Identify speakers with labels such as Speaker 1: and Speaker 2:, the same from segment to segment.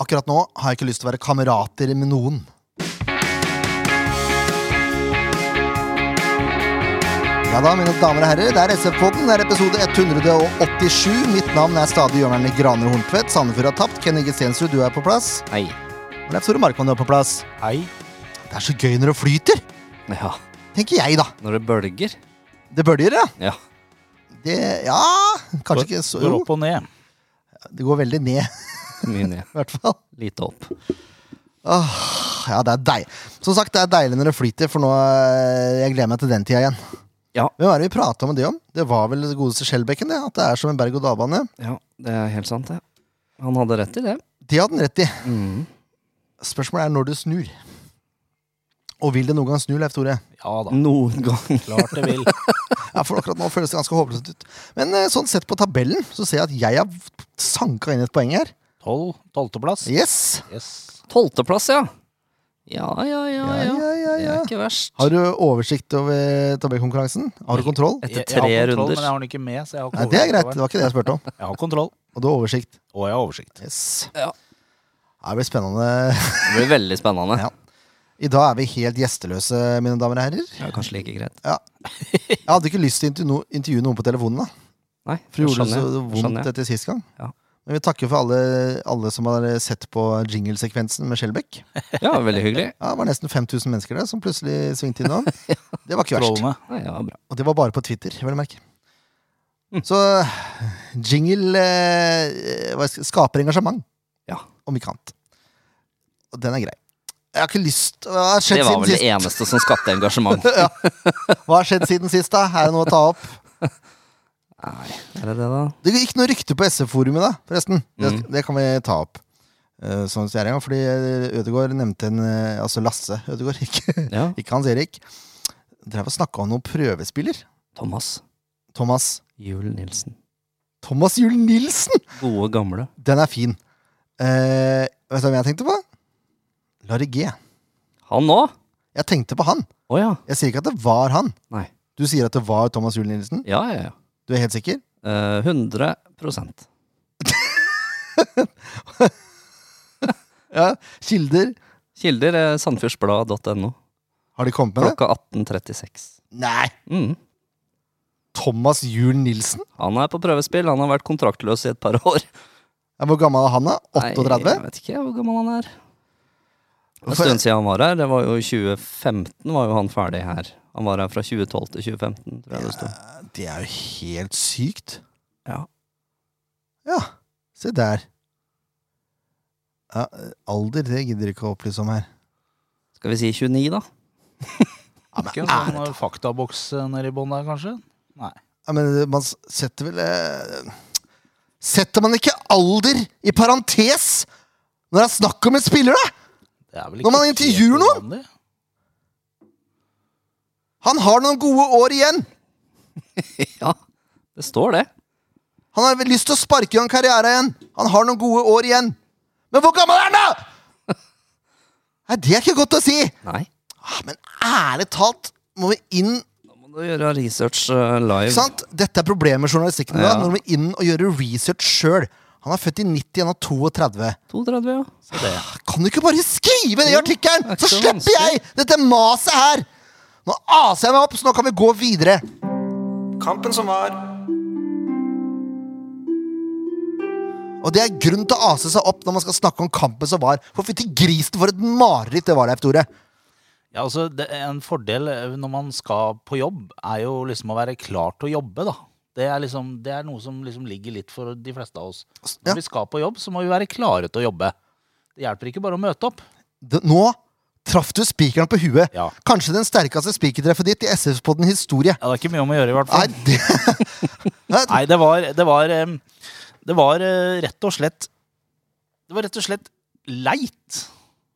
Speaker 1: akkurat nå har jeg ikke lyst til å være kamerater med noen. Ja da, mine damer og herrer, det er SF-podden. Det er episode 187. Mitt navn er stadig Jørgen Graner Horntvedt. Sandefjord har tapt. Kenny Gestensrud, du er på plass.
Speaker 2: Hei.
Speaker 1: Og Leif Tore Markmann, du er på plass.
Speaker 2: Hei.
Speaker 1: Det er så gøy når det flyter,
Speaker 2: Ja,
Speaker 1: tenker jeg, da.
Speaker 2: når det bølger.
Speaker 1: Det bølger, ja.
Speaker 2: Ja.
Speaker 1: Det, ja, kanskje ikke så
Speaker 3: Går
Speaker 1: jo,
Speaker 3: opp og ned.
Speaker 1: Det går veldig ned, i
Speaker 2: Mye ned.
Speaker 1: hvert fall.
Speaker 2: Lite opp.
Speaker 1: Åh, ja, det er deilig. Som sagt, det er deilig når det flyter, for nå eh, jeg gleder meg til den tida igjen.
Speaker 2: Ja.
Speaker 1: Hvem er det vi prata med det om? Det var vel det godeste Skjelbekken, det. At det er som en berg-og-dal-bane.
Speaker 2: Ja, det er helt sant, det. Han hadde rett i det.
Speaker 1: Det hadde han rett i.
Speaker 2: Mm.
Speaker 1: Spørsmålet er når det snur. Og vil det noen gang snu, Leif Tore?
Speaker 3: Ja da.
Speaker 2: Noen gang.
Speaker 3: Klart det vil.
Speaker 1: Ja, for akkurat nå føles det ganske håpløst ut. Men eh, sånn sett på tabellen, så ser jeg at jeg har sanka inn et poeng her.
Speaker 3: Tolv. Tolvteplass.
Speaker 1: Yes!
Speaker 3: Yes.
Speaker 2: Tolvteplass, ja. Ja, ja, ja,
Speaker 1: Ja,
Speaker 2: ja.
Speaker 1: ja, ja,
Speaker 2: Det
Speaker 1: ja.
Speaker 2: er ikke verst.
Speaker 1: Har du oversikt over tabellkonkurransen? Har du kontroll?
Speaker 2: Etter
Speaker 3: Jeg- jeg har
Speaker 2: tre
Speaker 3: kontroll,
Speaker 2: runder.
Speaker 3: Men jeg har den ikke med, så jeg har ikke
Speaker 1: Nei, det er
Speaker 3: oversikt
Speaker 1: greit.
Speaker 3: over
Speaker 1: Det
Speaker 3: den.
Speaker 1: var ikke det jeg spurte om.
Speaker 3: Jeg har kontroll,
Speaker 1: Og du har oversikt.
Speaker 3: og jeg har oversikt.
Speaker 1: Yes.
Speaker 2: Ja.
Speaker 1: Det blir spennende.
Speaker 2: Det blir veldig spennende.
Speaker 1: Ja. I dag er vi helt gjesteløse, mine damer og herrer.
Speaker 2: Ja, kanskje like greit.
Speaker 1: Jeg hadde ikke lyst til å intervju- intervjue noen på telefonen, da.
Speaker 2: Nei,
Speaker 1: For det gjorde det
Speaker 2: skjønner
Speaker 1: så
Speaker 2: jeg.
Speaker 1: vondt
Speaker 2: Skjønner jeg.
Speaker 1: etter sist gang.
Speaker 2: Ja.
Speaker 1: Men vi takker for alle, alle som har sett på jinglesekvensen med Skjelbekk.
Speaker 2: Ja, veldig hyggelig.
Speaker 1: Ja, det var nesten 5000 mennesker der som plutselig svingte innom. Det var ikke verst.
Speaker 3: Trollene.
Speaker 2: Nei, ja, bra.
Speaker 1: Og det var bare på Twitter, vel å merke.
Speaker 2: Hm.
Speaker 1: Så jingle eh, hva skal- skaper engasjement,
Speaker 2: Ja.
Speaker 1: om ikke annet. Og den er grei. Jeg har ikke lyst Hva har skjedd
Speaker 2: Det var
Speaker 1: siden
Speaker 2: vel det
Speaker 1: sist?
Speaker 2: eneste som skapte engasjement.
Speaker 1: Hva har skjedd siden sist, da? Er det noe å ta opp?
Speaker 2: Nei, er det det, da?
Speaker 1: Det gikk noe rykte på SF-forumet, da, forresten. Det,
Speaker 2: Mm.
Speaker 1: det kan vi ta opp. Eh, Sånn som jeg er, ja, fordi eh, Ødegaard nevnte en eh, Altså Lasse Ødegaard, ikke,
Speaker 2: Ja.
Speaker 1: ikke Hans Erik. Drev og snakka om noen prøvespiller.
Speaker 2: Thomas
Speaker 1: Thomas
Speaker 2: Juel Nilsen.
Speaker 1: Thomas Juel Nilsen!
Speaker 2: Gode, gamle.
Speaker 1: Den er fin. Eh, vet du hvem jeg tenkte på? Larry G.
Speaker 2: Han nå?
Speaker 1: Jeg tenkte på han.
Speaker 2: Å ja.
Speaker 1: Jeg sier ikke at det var han.
Speaker 2: Nei.
Speaker 1: Du sier at det var Thomas Juel Nilsen?
Speaker 2: Ja, ja, ja.
Speaker 1: Du er helt sikker?
Speaker 2: Eh, 100
Speaker 1: Ja. Kilder?
Speaker 2: Kilder er sandfjordsblad.no.
Speaker 1: Har de kommet med det?
Speaker 2: Klokka 18.36.
Speaker 1: Nei!
Speaker 2: Mm.
Speaker 1: Thomas Juel Nilsen?
Speaker 2: Han er på prøvespill. Han har vært kontraktløs i et par år.
Speaker 1: Ja, Hvor gammel er han, da?
Speaker 2: Nei,
Speaker 1: 38?
Speaker 2: jeg vet ikke hvor gammel han er. En
Speaker 1: For-
Speaker 2: stund siden han var her. Det var jo i 2015 var jo han ferdig her. Han var her fra 2012 til 2015, tror jeg det sto.
Speaker 1: Det er jo helt sykt.
Speaker 2: Ja.
Speaker 1: Ja, se der. Ja, alder, det gidder jeg ikke å opplyse om her.
Speaker 2: Skal vi si 29, da?
Speaker 3: Ikke en sånn eh, faktaboks eh, nede i bånn der, kanskje?
Speaker 1: Ja, men man s- setter vel eh, Setter man ikke alder i parentes når det er snakk om en spiller, da?!
Speaker 3: Det er vel
Speaker 1: Når man
Speaker 3: helt
Speaker 1: intervjuer noen?
Speaker 3: uvanlig.
Speaker 1: Han har noen gode år igjen!
Speaker 2: Ja, det står det.
Speaker 1: Han har vel lyst til å sparke i gang karriere igjen! Han har noen gode år igjen! Men hvor gammel er han, da?! Nei, det er ikke godt å si!
Speaker 2: Nei.
Speaker 1: Ah, men ærlig talt må vi inn
Speaker 2: Da må du gjøre research eh, live.
Speaker 1: Ikke sant? Dette er problemet med journalistikken.
Speaker 2: Ja.
Speaker 1: Da. Når vi inn og gjør research sjøl. Han er født i 90, han er 32.
Speaker 2: 32, ja.
Speaker 3: Så det.
Speaker 1: Kan du ikke bare skrive det i
Speaker 2: Jo,
Speaker 1: artikkelen,
Speaker 2: det er
Speaker 1: så
Speaker 2: ikke så
Speaker 1: slipper jeg
Speaker 2: vanskelig.
Speaker 1: dette maset her! Nå aser jeg meg opp, så nå kan vi gå videre. Kampen som var. Og det er grunn til å ase seg opp når man skal snakke om kampen som var. For fytti grisen, for et mareritt det var, Leif Tore.
Speaker 3: Ja, altså, det er en fordel eh, når man skal på jobb, er jo liksom å være klar til å jobbe, da. Det er, liksom, det er noe som liksom ligger litt for de fleste av oss. Når
Speaker 1: Ja.
Speaker 3: vi skal på jobb, så må vi være klare til å jobbe. Det hjelper ikke bare å møte opp.
Speaker 1: Det- Nå traff du spikeren på huet.
Speaker 3: Ja.
Speaker 1: Kanskje den sterkeste spikertreffet ditt i SF-podden historie.
Speaker 3: Ja, det er ikke mye om å gjøre, i hvert
Speaker 1: Nei,
Speaker 3: fall.
Speaker 1: det Nei,
Speaker 3: Nei, det var Det var, em, det var eh, rett og slett Det var rett og slett leit.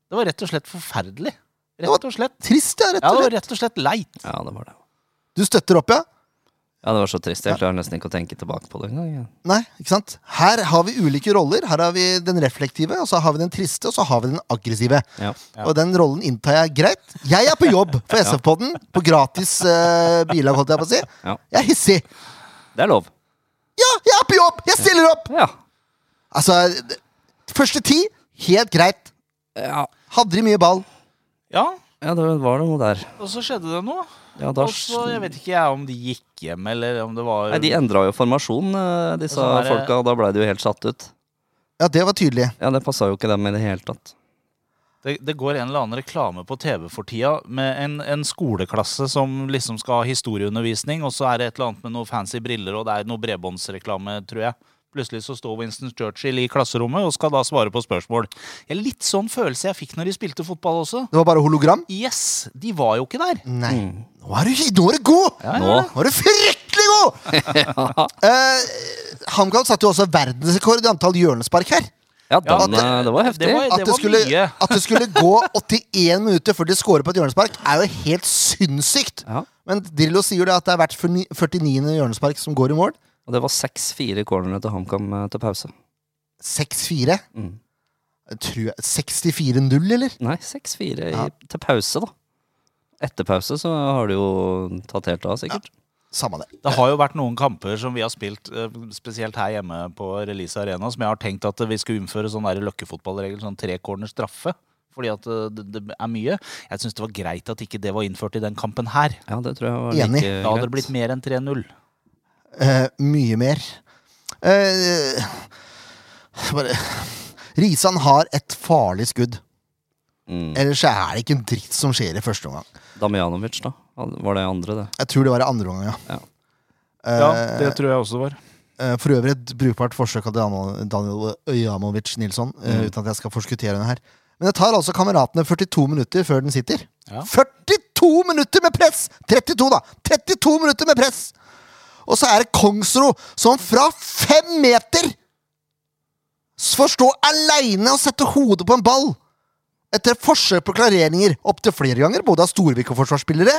Speaker 3: Det var rett og slett forferdelig. Rett og slett.
Speaker 1: Trist, ja, rett
Speaker 3: Ja,
Speaker 1: og
Speaker 3: det
Speaker 1: slett.
Speaker 3: var rett og slett leit.
Speaker 2: Ja, det var det.
Speaker 1: Du støtter opp, ja?
Speaker 2: Ja, det var så trist. Jeg klarer nesten ikke å tenke tilbake på det engang. jeg.
Speaker 1: Nei, ikke sant? Her har vi ulike roller. Her har vi den reflektive, og så har vi den triste, og så har vi den aggressive.
Speaker 2: Ja.
Speaker 1: Og den rollen inntar jeg greit. Jeg er på jobb for SF-podden, på gratis uh, bilag, holdt jeg på å si.
Speaker 2: Ja.
Speaker 1: Jeg er hissig.
Speaker 2: Det er lov.
Speaker 1: Ja, jeg er på jobb! Jeg stiller opp!
Speaker 2: Ja.
Speaker 1: Altså, det- første ti Helt greit.
Speaker 2: Ja,
Speaker 1: Hadde de mye ball?
Speaker 3: Ja,
Speaker 2: ja det var noe der.
Speaker 3: og så skjedde det noe.
Speaker 2: Ja, da,
Speaker 3: Og så, Jeg vet ikke jeg om de gikk hjem, eller om det var
Speaker 2: Nei, de endra jo formasjon, eh, disse
Speaker 3: Og så er det-
Speaker 2: folka, og da blei de jo helt satt ut.
Speaker 1: Ja, det var tydelig.
Speaker 2: Ja, det passa jo ikke dem i det hele tatt.
Speaker 3: det, det går en eller annen reklame på TV for tida med en, en skoleklasse som liksom skal ha historieundervisning, og så er det et eller annet med noen fancy briller, og det er noe bredbåndsreklame, tror jeg. Plutselig så står Winston Churchill i klasserommet og skal da svare på spørsmål. Ja, litt sånn følelse jeg fikk når de spilte fotball også.
Speaker 1: Det var bare hologram.
Speaker 3: Yes, de var jo ikke der.
Speaker 1: Nei. Nå er du, nå er du god!
Speaker 3: Ja,
Speaker 2: Nå.
Speaker 1: Nå er du fryktelig god! uh, HamKam satte jo også verdensrekord i antall hjørnespark her.
Speaker 2: Ja, den,
Speaker 3: Ja,
Speaker 2: eh, det, var heftig.
Speaker 3: Det var,
Speaker 1: At
Speaker 3: det
Speaker 1: det,
Speaker 3: var
Speaker 1: skulle,
Speaker 3: mye.
Speaker 1: at det skulle gå 81 minutter før de scorer på et hjørnespark, er jo helt sinnssykt.
Speaker 2: Ja,
Speaker 1: Men Drillo sier jo det at det er hvert 49. hjørnespark som går i mål.
Speaker 2: og det var 6-4 cornere til HamKam eh, til pause.
Speaker 1: 6-4.
Speaker 2: Mm.
Speaker 1: Jeg tror jeg- 64-0, eller?
Speaker 2: Nei, 6-4 i-
Speaker 1: Ja.
Speaker 2: til pause, da. Etter pause så har du jo tatt helt av, sikkert.
Speaker 1: Samme det.
Speaker 3: Det har jo vært noen kamper som vi har spilt, eh, spesielt her hjemme på Release Arena, som jeg har tenkt at vi skulle innføre sånn der løkkefotballregel, sånn trekorner straffe. Fordi at eh, det, det er mye. Jeg syns det var greit at ikke det var innført i den kampen her.
Speaker 2: Ja, det tror jeg var
Speaker 1: Enig.
Speaker 2: like
Speaker 3: Da hadde det
Speaker 2: greit.
Speaker 3: blitt mer enn 3-0.
Speaker 1: Eh, mye mer. Eh, bare Risan har et farlig skudd.
Speaker 2: Mm.
Speaker 1: Ellers så er det ikke en dritt som skjer i første omgang.
Speaker 2: Damjanovic, da. Han- Var det andre, det?
Speaker 1: Jeg tror det var i andre omgang, ja.
Speaker 2: Ja.
Speaker 1: Eh,
Speaker 3: tror jeg også det var.
Speaker 1: Eh, For øvrig et brukbart forsøk av Daniel Daniel Øyamovic Nilsson. eh, Uten at jeg skal forskuttere henne her. Men det tar altså kameratene 42 minutter før den sitter.
Speaker 3: Ja.
Speaker 1: 42 minutter med press! 32, da! 32 minutter med press! Og så er det Kongsro som fra fem meter s- får stå aleine og sette hodet på en ball! Etter forsøk på klareringer opptil flere ganger, både av Storvik og forsvarsspillere.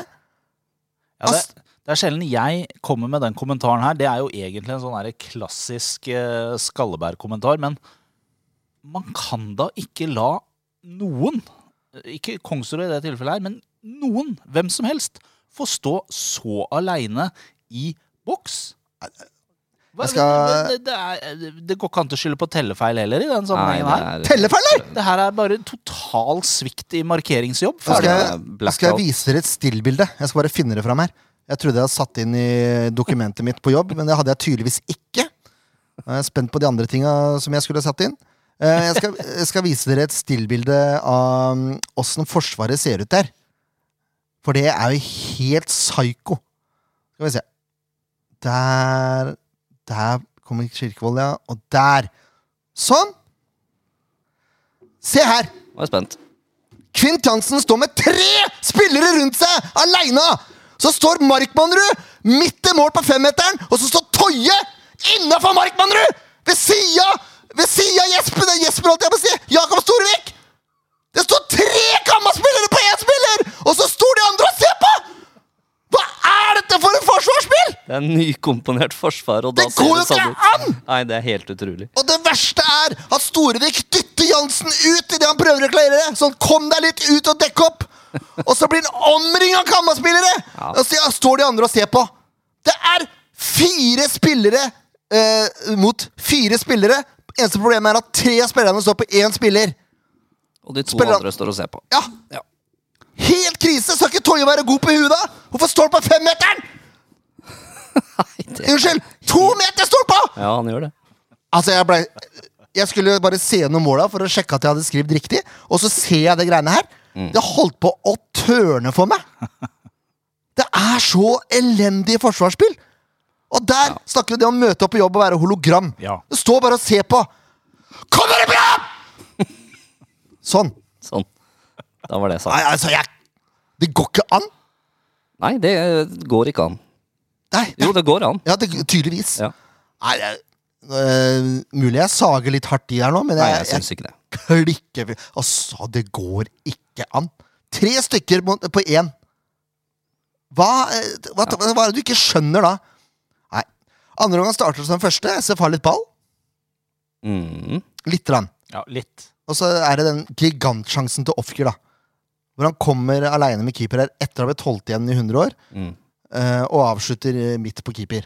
Speaker 3: Ja, det, det er sjelden jeg kommer med den kommentaren her. Det er jo egentlig en sånn her klassisk eh, Skalleberg-kommentar, men man kan da ikke la noen, ikke Kongsrud i det tilfellet her, men noen, hvem som helst, få stå så aleine i boks. Hva,
Speaker 1: Jeg skal-
Speaker 3: det, det, er, det går ikke an til å skylde på tellefeil heller i den
Speaker 2: Nei,
Speaker 3: sammenhengen her.
Speaker 2: det er
Speaker 1: Tellefeller!
Speaker 3: Det her er bare total svikt i markeringsjobb.
Speaker 1: Nå
Speaker 2: Ja,
Speaker 1: skal,
Speaker 2: det er
Speaker 1: jeg, nå
Speaker 2: blackout.
Speaker 1: skal jeg vise dere et stillbilde. Jeg skal bare finne det fram her. Jeg trodde jeg hadde satt inn i dokumentet mitt på jobb, men det hadde jeg tydeligvis ikke. Jeg er spent på de andre tinga som jeg skulle satt inn. Eh, Jeg skal, jeg skal vise dere et stillbilde av um, åssen Forsvaret ser ut der. For det er jo helt psyko. Skal vi se. Der Der kommer Kirkevold, ja. Og der. Sånn! Se her!
Speaker 2: Nå er jeg spent.
Speaker 1: Kvint Jansen står med tre spillere rundt seg, aleine! Så står Markmannrud midt i mål på femmeteren, og så står Toje innafor Markmannrud! Ved sida ved sida av Jesper, det er Jesper holdt jeg på å si! Jakob Storvik! Det står tre Kamma-spillere på én spiller! Og så står de andre og ser på! Hva er dette for et forsvarsspill?!
Speaker 2: Det er nykomponert forsvar, og da
Speaker 1: Det går jo
Speaker 2: ser
Speaker 1: ikke
Speaker 2: det sånn ut. Nei, det er helt utrolig.
Speaker 1: Og det verste er at Storevik dytter Jansen ut idet han prøver å klarere det. Sånn, kom deg litt ut og dekk opp! Og så blir han omringa av Kamma-spillere!
Speaker 2: Ja.
Speaker 1: Og så står de andre og ser på. Det er fire spillere eh, mot fire spillere. Eneste problemet er at tre av spillerne står på én spiller.
Speaker 2: Og de to
Speaker 1: Spiller-
Speaker 2: andre står og ser på.
Speaker 1: Ja,
Speaker 2: Ja.
Speaker 1: Helt krise! Skal ikke Toje være god på huet, da? Hvorfor står han på femmeteren? Unnskyld! To meter står han på!
Speaker 2: Ja, han gjør det.
Speaker 1: Altså, jeg ble Jeg skulle bare se gjennom måla for å sjekke at jeg hadde skrevet riktig, og så ser jeg det greiene her.
Speaker 2: Mm.
Speaker 1: Det holdt på å tørne for meg! Det er så elendig forsvarsspill! Og der snakker vi det om å møte opp på jobb og være hologram.
Speaker 3: Ja.
Speaker 1: Du står bare og ser på. Kommer det bra?! sånn.
Speaker 2: Sånn. Da var det
Speaker 1: Nei,
Speaker 2: sagt.
Speaker 1: altså, jeg Det går ikke an!
Speaker 2: Nei, det går ikke an.
Speaker 1: Nei.
Speaker 2: Jo, det går an.
Speaker 1: Ja, det, tydeligvis.
Speaker 2: Ja.
Speaker 1: Nei, jeg, øh, mulig jeg sager litt hardt i her nå, men
Speaker 2: Nei,
Speaker 1: jeg,
Speaker 2: jeg syns ikke det.
Speaker 1: klikker Altså, det går ikke an. Tre stykker mot- på én. Hva, eh, hva, hva er det du ikke skjønner da? Nei. Andre omgang starter som den første. SF har litt ball.
Speaker 2: Mm.
Speaker 1: Litt. Rann.
Speaker 3: Ja, litt.
Speaker 1: Og så er det den gigantsjansen til Ofker, da. Hvor han kommer aleine med keeper her etter å ha blitt holdt igjen i 100 år,
Speaker 2: Mm.
Speaker 1: eh, og avslutter eh, midt på keeper.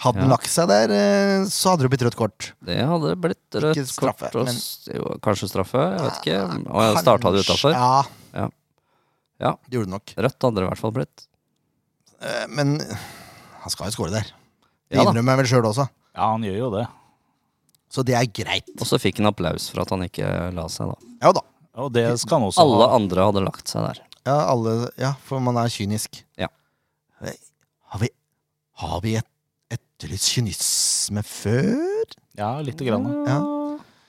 Speaker 1: Hadde han
Speaker 2: Ja.
Speaker 1: lagt seg der, eh, så hadde det blitt rødt kort.
Speaker 2: Det hadde blitt rødt
Speaker 1: straffe,
Speaker 2: kort og
Speaker 1: men-
Speaker 2: s- jo, kanskje straffe. Jeg vet ikke. Og jeg starta det
Speaker 1: Kanskje-
Speaker 2: utafor.
Speaker 1: Ja.
Speaker 2: Ja. Ja.
Speaker 1: Det gjorde det nok.
Speaker 2: Rødt hadde det i hvert fall blitt.
Speaker 1: Eh, Men han skal jo score der. Det
Speaker 2: Ja da.
Speaker 1: innrømmer jeg vel sjøl også.
Speaker 3: Ja, han gjør jo det.
Speaker 1: Så det er greit.
Speaker 2: Og så fikk han applaus for at han ikke la seg, da.
Speaker 1: Ja da.
Speaker 3: Og det skal han også
Speaker 2: Alle
Speaker 3: ha.
Speaker 2: andre hadde lagt seg der.
Speaker 1: Ja, alle, ja for man er kynisk.
Speaker 2: Ja.
Speaker 1: Eh, Har vi, har vi et, etterlyst kynisme før?
Speaker 3: Ja, lite grann.
Speaker 1: Ja.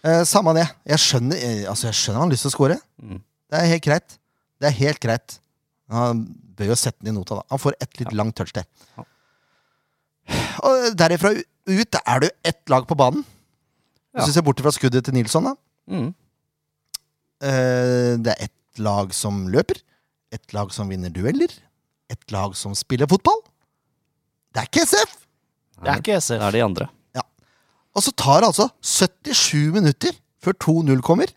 Speaker 1: Eh, samme det. Jeg skjønner, eh, altså, jeg skjønner han har lyst til å score.
Speaker 2: Mm.
Speaker 1: Det er helt greit. Det er helt greit. Han bør jo sette den i nota, da. Han får et litt langt touch der.
Speaker 2: Ja.
Speaker 1: Og derifra ut, da er det jo ett lag på banen.
Speaker 2: Ja.
Speaker 1: Hvis du ser bort fra skuddet til Nilsson, da.
Speaker 2: Mm.
Speaker 1: Eh, det er ett lag som løper, ett lag som vinner dueller, ett lag som spiller fotball. Det er ikke SF!
Speaker 3: Det er ikke
Speaker 2: Det
Speaker 3: SF.
Speaker 2: er de andre.
Speaker 1: Og så tar det altså 77 minutter før 2-0 kommer.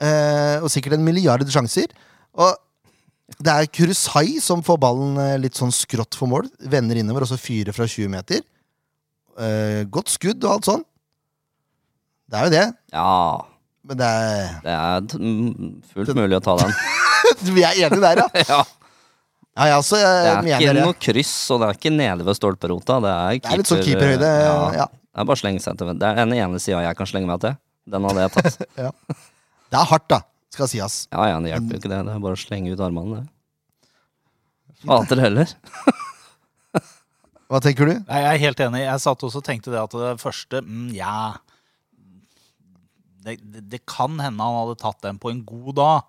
Speaker 1: Eh, og sikkert en milliard sjanser. Og det er Kurusai som får ballen eh, litt sånn skrått for mål. Vender innover og så fyrer fra 20 meter. Eh, godt skudd og alt sånn. Det er jo det,
Speaker 2: Ja,
Speaker 1: men det er
Speaker 2: det er t- mm, fullt mulig å ta den.
Speaker 1: Vi er enige der, ja.
Speaker 2: ja.
Speaker 1: Ja, jeg også eh,
Speaker 2: Det er ikke
Speaker 1: mener det.
Speaker 2: noe kryss, og det er ikke nede ved stolperota. Det er,
Speaker 1: Det er litt sånn
Speaker 2: keeper- eh,
Speaker 1: keeperhøyde.
Speaker 2: Ja.
Speaker 1: Ja.
Speaker 2: Det er bare å slenge seg til venstre. Det er den ene sida jeg kan slenge meg til. Den hadde jeg tatt.
Speaker 1: Det er hardt, da, skal sies.
Speaker 2: Ja, ja, det hjelper jo ikke det. Det er bare å slenge ut armene, det. Fader heller.
Speaker 1: Hva tenker du?
Speaker 3: Nei, jeg er helt enig. Jeg satt også og tenkte det at det første mm, Ja. Det, det, det kan hende han hadde tatt den på en god dag.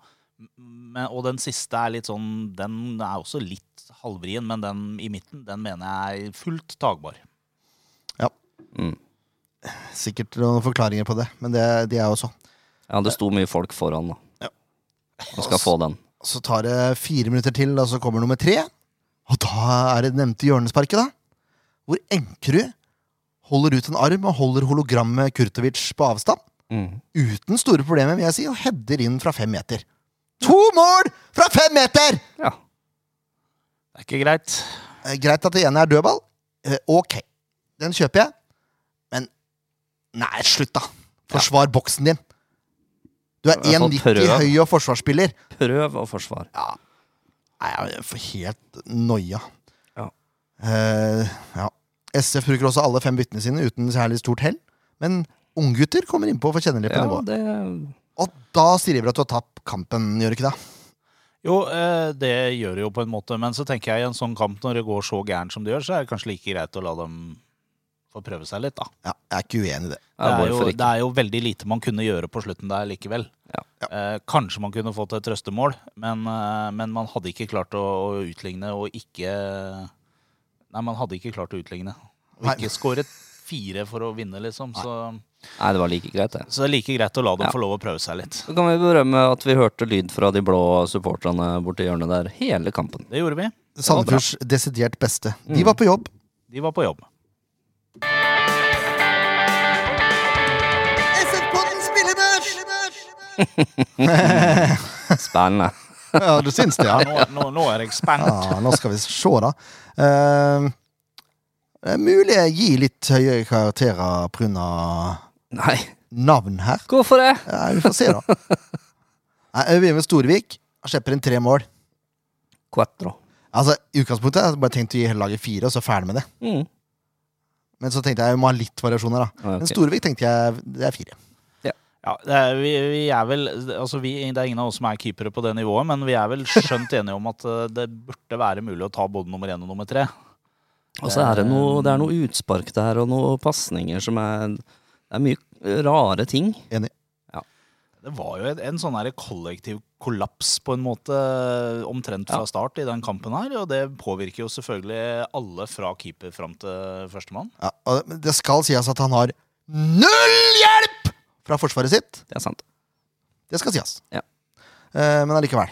Speaker 3: Men, og den siste er litt sånn Den er også litt halvvrien, men den i midten den mener jeg er fullt tagbar.
Speaker 2: Mm.
Speaker 1: Sikkert noen forklaringer på det, men det, de er jo sånn.
Speaker 2: Ja, det sto mye folk foran,
Speaker 1: Ja.
Speaker 2: da. Han skal få den.
Speaker 1: Så tar det fire minutter til, og så kommer nummer tre. Og da er det nevnte hjørnesparket, da. Hvor Enkerud holder ut en arm og holder hologrammet Kurtovic på avstand.
Speaker 2: Mm.
Speaker 1: Uten store problemer, vil jeg si, og header inn fra fem meter. To mål fra fem meter!
Speaker 2: Ja.
Speaker 3: Det er ikke greit.
Speaker 1: Eh, Greit at det ene er dødball. Eh, ok, den kjøper jeg. Men nei, slutt, da. Forsvar boksen din. Du er
Speaker 2: I hvert fall
Speaker 1: 1,90
Speaker 2: prøv.
Speaker 1: høy og forsvarsspiller.
Speaker 2: Prøv og forsvar.
Speaker 1: Nei, jeg får helt noia.
Speaker 2: Ja.
Speaker 1: Eh, ja. SF bruker også alle fem byttene sine uten særlig stort hell. Men unggutter kommer innpå og får kjenne litt på
Speaker 2: Ja,
Speaker 1: nivået.
Speaker 2: det
Speaker 1: Og da sier de vel at du har tapt kampen, gjør du ikke det?
Speaker 3: Jo, eh, det gjør det jo på en måte, men så tenker jeg i en sånn kamp, når det går så gærent som det gjør, så er det kanskje like greit å la dem få prøve seg litt, da.
Speaker 1: Ja, jeg er ikke uenig i det.
Speaker 2: Ja,
Speaker 3: Det er, jo,
Speaker 2: hvorfor
Speaker 3: det
Speaker 2: ikke?
Speaker 3: er jo veldig lite man kunne gjøre på slutten der likevel.
Speaker 2: Ja.
Speaker 3: Eh, kanskje man kunne fått et trøstemål, men, eh, men man hadde ikke klart å, å utligne og ikke Nei, man hadde ikke klart å utligne. Og
Speaker 1: Nei.
Speaker 3: ikke skåret fire for å vinne, liksom. Så,
Speaker 2: Nei, det var like greit, det.
Speaker 3: så det er like greit å la dem
Speaker 2: Ja.
Speaker 3: få lov å prøve seg litt.
Speaker 2: Så kan vi berømme at vi hørte lyd fra de blå supporterne borti hjørnet der hele kampen.
Speaker 3: Det gjorde vi.
Speaker 1: Sandefjords desidert beste. De var på jobb.
Speaker 3: De var på jobb.
Speaker 1: SF-podden spillebørs!
Speaker 2: Spennende.
Speaker 1: Ja, du syns det, ja.
Speaker 3: Nå, nå, nå er jeg spent.
Speaker 1: Ja, Ah, nå skal vi se, da. Eh, det er mulig jeg gir litt høye karakterer pga.
Speaker 2: Nei,
Speaker 1: navn her.
Speaker 2: hvorfor det?
Speaker 1: Ja, vi får se, da. Nei, Jeg begynner med Storvik. Han slipper inn tre mål.
Speaker 2: Quattro.
Speaker 1: Altså, I utgangspunktet hadde jeg bare tenkt å gi hele laget fire, og så ferdig med det.
Speaker 2: Mm.
Speaker 1: Men så tenkte jeg jeg må ha litt variasjoner, da.
Speaker 2: Ja, ok.
Speaker 1: Men Storvik tenkte jeg det er fire.
Speaker 3: Ja, det er, vi, vi er vel altså vi, Det er ingen av oss som er keepere på det nivået, men vi er vel skjønt enige om at eh, det burde være mulig å ta både nummer én og nummer tre.
Speaker 2: Og så er det noe, det er noe utspark der, og noen pasninger som er Det er mye rare ting.
Speaker 1: Enig.
Speaker 3: Det var jo en, en sånn her kollektiv kollaps på en måte eh, omtrent fra start i den kampen her, og det påvirker jo selvfølgelig alle fra keeper fram til førstemann.
Speaker 1: Ja, og det skal sies at han har null hjelp fra forsvaret sitt.
Speaker 2: Det er sant.
Speaker 1: Det skal sies.
Speaker 2: Ja.
Speaker 1: Eh, men allikevel.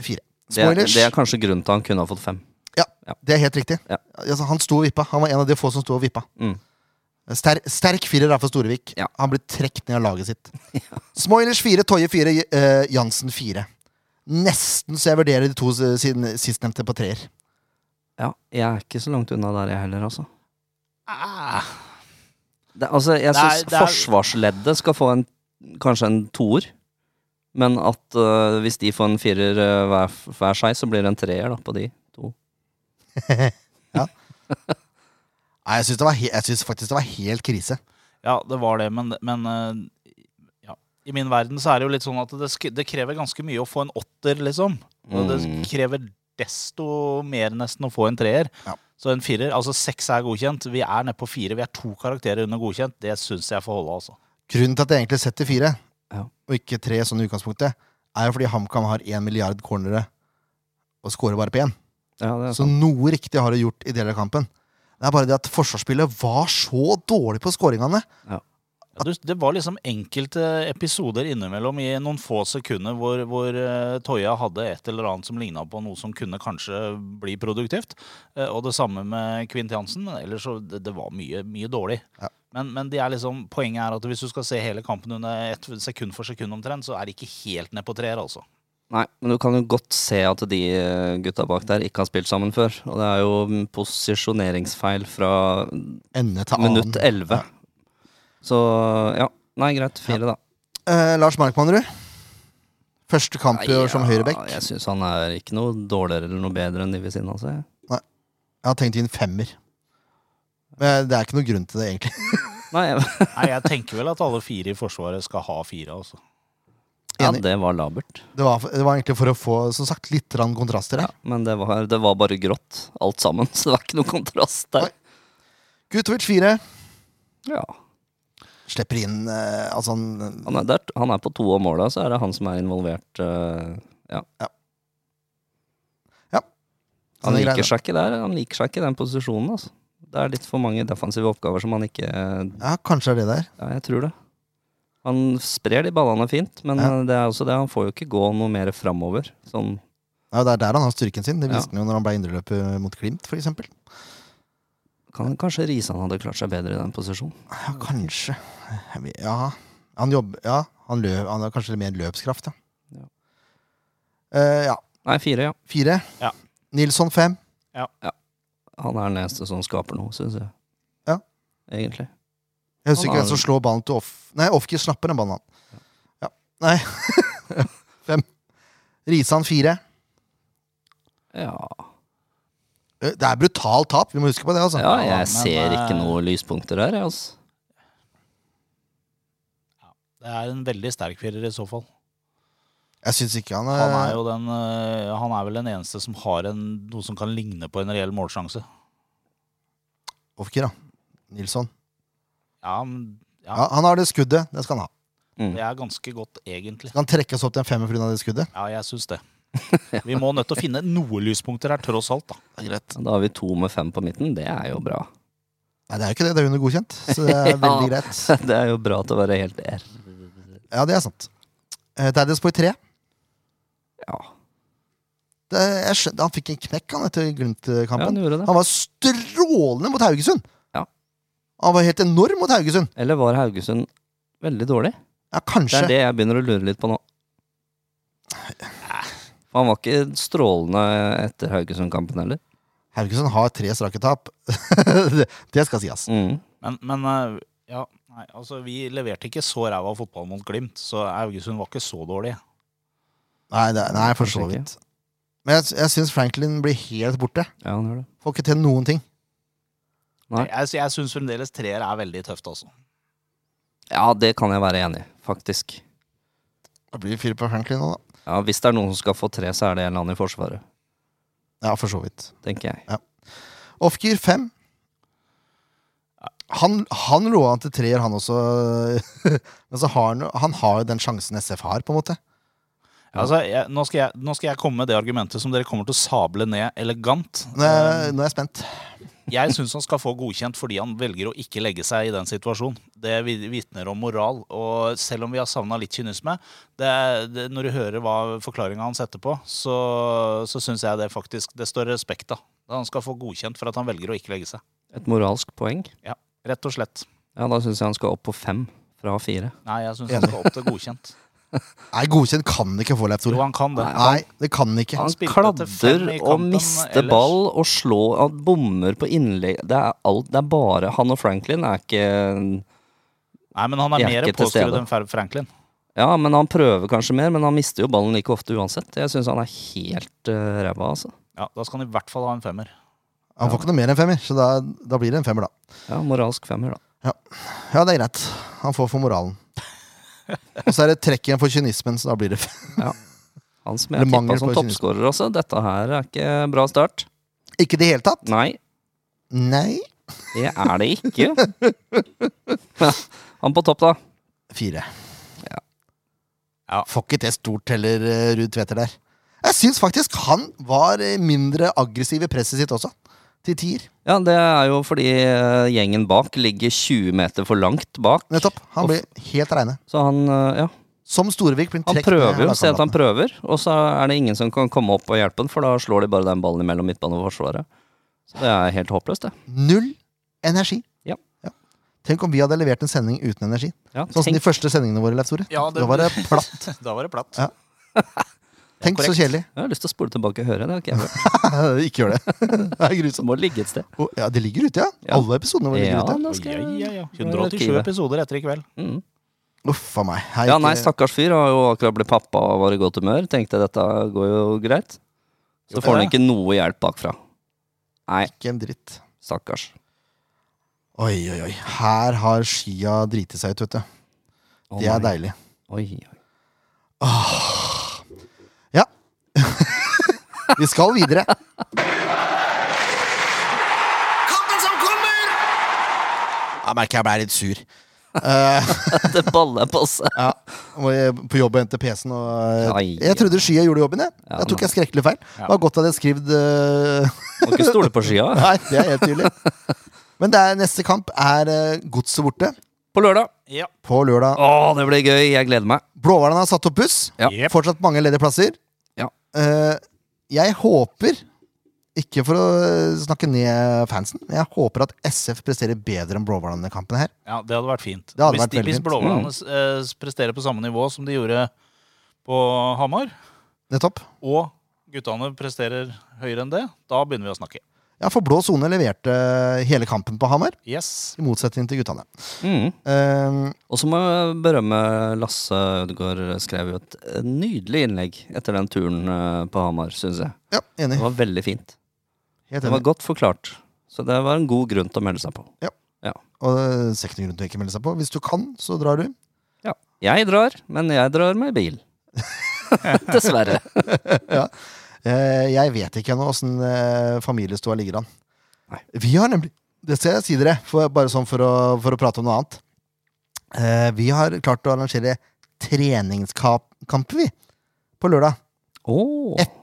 Speaker 1: Fire.
Speaker 2: Det er,
Speaker 1: Spoilers.
Speaker 2: det er kanskje grunnen til han kunne ha fått fem.
Speaker 1: Det er helt riktig.
Speaker 2: Ja.
Speaker 1: Altså, han sto og vippa. Han var en av de få som sto og vippa.
Speaker 2: Mm.
Speaker 1: Ster sterk firer er for Storevik.
Speaker 2: Ja.
Speaker 1: Han ble trukket ned av laget sitt. Smoilers fire, Toje fire, J- eh, Jansen fire. Nesten så jeg vurderer de to s- siden- sistnevnte på treer.
Speaker 2: Ja, jeg er ikke så langt unna der, jeg heller, altså.
Speaker 3: Ah,
Speaker 2: Det, altså, jeg
Speaker 3: Det er-
Speaker 2: syns
Speaker 3: det er-
Speaker 2: forsvarsleddet skal få en, kanskje en toer. Men at eh, hvis de får en firer eh, hver, hver seg, så blir det en treer da, på de to.
Speaker 1: Nei, jeg syns, det var he jeg syns faktisk det var helt krise.
Speaker 3: ja, det var det, men, men eh, ja. I min verden så er det jo litt sånn at det, sk- det krever ganske mye å få en åtter, liksom. Og det
Speaker 2: Mm.
Speaker 3: krever desto mer nesten å få en treer.
Speaker 1: Ja.
Speaker 3: Så en firer, altså seks er godkjent. Vi er nede på fire. Vi er to karakterer under godkjent. Det syns jeg får holde, altså.
Speaker 1: Grunnen til at jeg egentlig setter fire,
Speaker 2: Ja.
Speaker 1: og ikke tre sånn i utgangspunktet, er jo fordi HamKam har én milliard cornere og scorer bare på én.
Speaker 2: Ja, det er
Speaker 1: Så
Speaker 2: sant.
Speaker 1: noe riktig har du gjort i deler av kampen. Det er bare det at forsvarsspillet var så dårlig på scoringene.
Speaker 3: Ja, du, det var liksom enkelte episoder innimellom i noen få sekunder hvor, hvor eh, Toya hadde et eller annet som ligna på noe som kunne kanskje bli produktivt. Eh, og det samme med Kvint Jansen. Men ellers så det, det var mye, mye dårlig.
Speaker 1: Ja.
Speaker 3: Men, men de er liksom, poenget er at hvis du skal se hele kampen under ett sekund for sekund omtrent, så er det ikke helt ned på treer, altså.
Speaker 2: Nei, men du kan jo godt se at de eh, gutta bak der ikke har spilt sammen før. Og det er jo mm, posisjoneringsfeil fra
Speaker 1: Ende til annen.
Speaker 2: minutt elleve. Så ja. Nei, greit. Fire, da.
Speaker 1: Eh, Lars Markmannrud. Første kamp i år som
Speaker 2: Nei, ja,
Speaker 1: høyrebekk.
Speaker 2: Jeg syns han er ikke noe dårligere eller noe bedre enn de ved siden av seg.
Speaker 1: Jeg har tenkt inn femmer. Men det er ikke noe grunn til det, egentlig.
Speaker 2: Nei, jeg-
Speaker 3: Nei, jeg tenker vel at alle fire i Forsvaret skal ha fire, altså.
Speaker 2: ja,
Speaker 1: Enig.
Speaker 2: det var labert.
Speaker 1: Det var, det var egentlig for å få som sagt, litt grann kontraster
Speaker 2: Ja,
Speaker 1: her.
Speaker 2: men det var, det var bare grått, alt sammen. Så det var ikke noen kontrast der.
Speaker 1: Nei. Gutovic fire.
Speaker 2: Ja.
Speaker 1: Slipper inn eh, altså han,
Speaker 2: Han, er der, han er på to av måla, så er det han som er involvert. eh, ja.
Speaker 1: Ja. Ja.
Speaker 2: Han
Speaker 1: Sånne
Speaker 2: liker
Speaker 1: greier.
Speaker 2: seg ikke der. Han liker seg ikke i den posisjonen. Altså. Det er litt for mange defensive oppgaver som han ikke eh,
Speaker 1: Ja, kanskje det er det der.
Speaker 2: Ja, jeg tror det. Han sprer de ballene fint, men
Speaker 1: Ja.
Speaker 2: eh, det er også det. Han får jo ikke gå noe mer framover. Sånn
Speaker 1: Ja, det er der han har styrken sin. Det
Speaker 2: Ja.
Speaker 1: viste han jo når han ble indreløper mot Glimt, for eksempel.
Speaker 2: kan, Kanskje Risan hadde klart seg bedre i den posisjonen.
Speaker 1: Ja, kanskje. Jeg vet- Ja, han jobber Ja, han, løp, han har kanskje litt mer løpskraft, ja.
Speaker 2: Ja.
Speaker 1: Eh, ja.
Speaker 2: Nei, fire, ja.
Speaker 1: Fire.
Speaker 3: Ja.
Speaker 1: Nilsson fem.
Speaker 2: Han er den eneste som skaper noe, syns jeg.
Speaker 1: Ja.
Speaker 2: Egentlig.
Speaker 1: Jeg husker ikke
Speaker 2: Han har-
Speaker 1: hvem som slår ballen til off... Nei, Ofkis snapper den ballen, han. Ja. Nei. fem. Risan fire.
Speaker 2: Ja.
Speaker 1: Eh, Det er brutalt tap, vi må huske på det, altså.
Speaker 2: Ja, jeg
Speaker 3: Ja, men,
Speaker 2: ser ikke
Speaker 3: eh,
Speaker 2: noe lyspunkter der, jeg, altså.
Speaker 3: Det er en veldig sterk firer i så fall.
Speaker 1: Jeg syns ikke han
Speaker 3: Han er jo den eh, Han er vel den eneste som har en, noe som kan ligne på en reell målsjanse.
Speaker 1: Ofkir, da. Nilsson.
Speaker 3: Ja, men
Speaker 1: Ja,
Speaker 3: ja,
Speaker 1: han har det skuddet. Det skal han ha.
Speaker 2: Mm.
Speaker 3: det er ganske godt, egentlig.
Speaker 1: Skal han trekkes opp til en femmer pga. det skuddet?
Speaker 3: Ja, jeg syns det. Vi må nødt til å finne noe lyspunkter her, tross alt, da.
Speaker 1: Det er greit.
Speaker 2: Da har vi to med fem på midten, det er jo bra.
Speaker 1: Nei, det er jo ikke det. Det er under godkjent. Så det er
Speaker 2: Ja.
Speaker 1: veldig greit.
Speaker 2: Det er jo bra til å være helt der.
Speaker 1: Ja, det er sant. Eh, Daddies Boy 3.
Speaker 2: Ja,
Speaker 1: Det, jeg skjønte, han fikk en knekk han etter
Speaker 2: ja
Speaker 1: Glimt-kampen.
Speaker 2: han gjorde det.
Speaker 1: han var strålende mot Haugesund!
Speaker 2: Ja.
Speaker 1: Han var helt enorm mot Haugesund.
Speaker 2: Eller var Haugesund veldig dårlig?
Speaker 1: Ja,
Speaker 2: Det
Speaker 1: kanskje.
Speaker 2: er det jeg begynner å lure litt på nå. For han var ikke strålende etter Haugesund-kampen heller.
Speaker 1: Haugesund har tre strake tap. det, det skal sies.
Speaker 2: Mm.
Speaker 3: Men, men eh, ja, nei, altså vi leverte ikke så ræva fotball mot Glimt, så Haugesund var ikke så dårlig.
Speaker 1: Nei, det, nei for så
Speaker 2: Kanskje ikke.
Speaker 1: vidt. Men jeg, jeg syns Franklin blir helt borte.
Speaker 2: Ja, han gjør det.
Speaker 1: Får ikke til noen ting.
Speaker 2: Nei.
Speaker 3: Jeg, jeg syns fremdeles treer er veldig tøft, altså.
Speaker 2: Ja, det kan jeg være enig i, faktisk.
Speaker 1: Det blir fire på Franklin nå, da.
Speaker 2: Ja, Hvis det er noen som skal få tre, så er det en eller annen i Forsvaret,
Speaker 1: Ja, for så vidt.
Speaker 2: tenker jeg.
Speaker 1: Ofkir 5. Han, han lå an til treer, han også. Men så har han, jo- han har jo den sjansen SF har, på en måte.
Speaker 3: Altså, jeg, nå, skal jeg, nå skal jeg komme med det argumentet som dere kommer til å sable ned elegant.
Speaker 1: Nå er,
Speaker 2: Um.
Speaker 1: nå er jeg spent.
Speaker 3: Jeg syns han skal få godkjent fordi han velger å ikke legge seg i den situasjonen. Det vi- vitner om moral. Og selv om vi har savna litt kynisme, det, det, når du hører hva forklaringa hans etterpå, så, så syns jeg det faktisk Det står respekt av. Han skal få godkjent for at han velger å ikke legge seg.
Speaker 2: Et moralsk poeng.
Speaker 3: Ja, Rett og slett.
Speaker 2: Ja, da syns jeg han skal opp på fem fra fire.
Speaker 3: Nei, jeg syns han skal opp til godkjent.
Speaker 1: Nei, godkjent kan det ikke få, Leif
Speaker 3: Jo,
Speaker 1: Tore.
Speaker 3: han kan det.
Speaker 1: Nei, det kan det ikke.
Speaker 2: Han
Speaker 3: spilte til
Speaker 2: kladder
Speaker 3: fem i
Speaker 2: og
Speaker 3: kampen
Speaker 2: mister
Speaker 3: ellers.
Speaker 2: ball og slår han bommer på innlegg. Det er alt. Det er bare han og Franklin er ikke
Speaker 3: Nei, men han er
Speaker 2: Jeg er
Speaker 3: mer
Speaker 2: ikke til
Speaker 3: påskrudd
Speaker 2: stede.
Speaker 3: enn Fer- Franklin.
Speaker 2: Ja, men han prøver kanskje mer, men han mister jo ballen like ofte uansett. Jeg syns han er helt eh, ræva, altså.
Speaker 3: Ja, Da skal han i hvert fall ha en femmer.
Speaker 1: Han får ikke noe mer enn femmer, så da, da blir det en femmer, da.
Speaker 2: Ja, moralsk femmer, da.
Speaker 1: Ja, det er greit. Han får for moralen. Og så er det trekk igjen for kynismen, så da blir det fem.
Speaker 2: Han som
Speaker 1: Eller
Speaker 2: jeg tippa
Speaker 1: mangel
Speaker 2: som
Speaker 1: på kynisme.
Speaker 2: toppskårer også. Dette her er ikke bra start.
Speaker 1: Ikke i det hele tatt?
Speaker 2: Nei,
Speaker 1: Nei.
Speaker 2: det er det ikke. han på topp, da.
Speaker 1: Fire.
Speaker 2: Ja.
Speaker 3: Ja.
Speaker 1: Får ikke til stort heller, eh, Ruud Tveter der. Jeg syns faktisk han var eh, mindre aggressiv i presset sitt også. Til tier.
Speaker 2: Ja, det er jo fordi eh, gjengen bak ligger 20 meter for langt bak.
Speaker 1: Nettopp. Han
Speaker 2: Og
Speaker 1: ble helt reine.
Speaker 2: Så han, eh, ja,
Speaker 1: Som Storevik blir
Speaker 2: han
Speaker 1: trukket
Speaker 2: prøver jo, se at han prøver, og så er det ingen som kan komme opp og hjelpe han, for da slår de bare den ballen imellom midtbanen og forsvaret. Så det er helt håpløst, det.
Speaker 1: Null energi.
Speaker 2: Ja.
Speaker 1: Tenk om vi hadde levert en sending uten energi.
Speaker 2: Ja,
Speaker 1: Sånn som
Speaker 2: tenk,
Speaker 1: de første sendingene våre, Leif Tore.
Speaker 3: Ja, det-
Speaker 1: Da var det platt.
Speaker 3: Da var det platt.
Speaker 1: Ja. Tenk så
Speaker 3: korrekt.
Speaker 1: kjedelig.
Speaker 2: jeg har lyst til å spole tilbake og høre. Det har ikke jeg hørt.
Speaker 1: Ikke gjør det. Det er
Speaker 2: Så
Speaker 1: grusomt.
Speaker 2: må det ligge et sted.
Speaker 1: Og- Ja, det ligger ute, ja.
Speaker 2: Ja.
Speaker 1: Alle episodene våre ligger
Speaker 2: Ja,
Speaker 1: ute.
Speaker 2: da
Speaker 3: Oi,
Speaker 2: skal
Speaker 3: ja, ja,
Speaker 2: jeg
Speaker 3: ja.
Speaker 2: i
Speaker 3: 187
Speaker 2: arkivet.
Speaker 3: episoder etter i kveld.
Speaker 2: mm.
Speaker 1: Uff a meg. Her
Speaker 2: Ja,
Speaker 1: gikk
Speaker 2: nei,
Speaker 1: det-
Speaker 2: stakkars fyr har jo akkurat blitt pappa og var i godt humør. Tenkte dette går jo greit. Så
Speaker 3: Jo,
Speaker 2: får han
Speaker 3: det er
Speaker 2: ikke noe hjelp bakfra. Nei,
Speaker 1: Ikke en dritt.
Speaker 2: stakkars.
Speaker 1: Oi, oi, oi. Her har skia driti seg ut, vet du.
Speaker 2: Å,
Speaker 1: Det er
Speaker 2: nei.
Speaker 1: deilig.
Speaker 2: Oi, oi.
Speaker 1: Ja. Vi skal videre. Kampen som kommer! Jeg merker jeg ble litt sur.
Speaker 2: Det baller på seg.
Speaker 1: Ja, må jeg på jobb og hente PC-en. Og eh,
Speaker 2: Ai.
Speaker 1: jeg trodde skya gjorde jobben. Jeg
Speaker 2: Ja,
Speaker 1: Jeg tok jeg skrekkelig feil. Det var godt at jeg skrev eh,
Speaker 2: Må ikke stole på skia.
Speaker 1: Nei, det er helt tydelig. Men det er, neste kamp er eh, Godset borte
Speaker 2: På lørdag.
Speaker 3: Ja.
Speaker 1: på lørdag.
Speaker 2: Å, det blir gøy. Jeg gleder meg.
Speaker 1: Blåhvalene har satt opp buss.
Speaker 2: Ja.
Speaker 3: Jep.
Speaker 1: Fortsatt mange ledige plasser.
Speaker 2: Ja.
Speaker 1: Eh, jeg håper, ikke for å eh, snakke ned fansen, men jeg håper at SF presterer bedre enn Blåhvalene i denne kampen her.
Speaker 3: ja, det hadde vært fint.
Speaker 1: Det hadde
Speaker 3: hvis
Speaker 1: vært
Speaker 3: de,
Speaker 1: veldig
Speaker 3: hvis
Speaker 1: fint. Mm.
Speaker 3: Blåhvalene eh, presterer på samme nivå som de gjorde på Hamar,
Speaker 1: Nettopp.
Speaker 3: og guttene presterer høyere enn det, da begynner vi å snakke.
Speaker 1: Ja, for blå sone leverte eh, hele kampen på Hamar,
Speaker 3: Yes.
Speaker 1: i motsetning til guttene.
Speaker 2: Mm.
Speaker 1: Eh,
Speaker 2: Og så må jeg berømme Lasse Ødegaard skrev jo et eh, nydelig innlegg etter den turen eh, på Hamar, syns jeg.
Speaker 1: ja, enig.
Speaker 2: Det var veldig fint.
Speaker 1: Helt
Speaker 2: Det var
Speaker 1: enig.
Speaker 2: godt forklart. Så det var en god grunn til å melde seg på.
Speaker 1: Og eh, ser ikke noen grunn til å ikke melde seg på. Hvis du kan, så drar du.
Speaker 2: Jeg drar, men jeg drar med bil. Dessverre.
Speaker 1: Eh, jeg vet ikke ennå åssen eh, familiestua ligger an.
Speaker 2: Nei.
Speaker 1: Vi har nemlig Det skal jeg si dere, for, bare sånn for å, for å prate om noe annet. Eh, vi har klart å arrangere treningskamp vi, på lørdag.
Speaker 2: Å,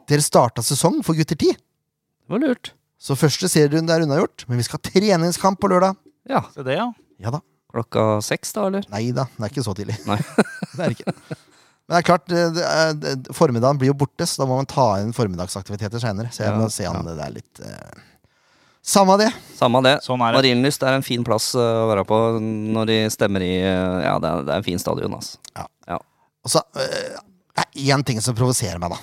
Speaker 1: Dere starta sesong for gutter 10.
Speaker 2: det var lurt.
Speaker 1: Så første serierunde er unnagjort, men vi skal ha treningskamp på lørdag.
Speaker 2: Ja.
Speaker 3: Se det, ja.
Speaker 1: Ja da.
Speaker 2: Klokka seks, da, eller?
Speaker 1: Nei da, det er ikke så tidlig.
Speaker 2: Nei.
Speaker 1: det er ikke. Men det er klart, eh, det er, det- formiddagen blir jo borte, så da må man ta inn formiddagsaktiviteter seinere. Så jeg
Speaker 2: Ja,
Speaker 1: må se an det der litt eh. Samme det.
Speaker 2: Samme det.
Speaker 3: Sånn er det.
Speaker 2: Marienlyst er en fin plass eh, å være på når de stemmer i eh, Ja, det er, det er en fin stadion, altså.
Speaker 1: Og så, eh, det er én ting som provoserer meg, da.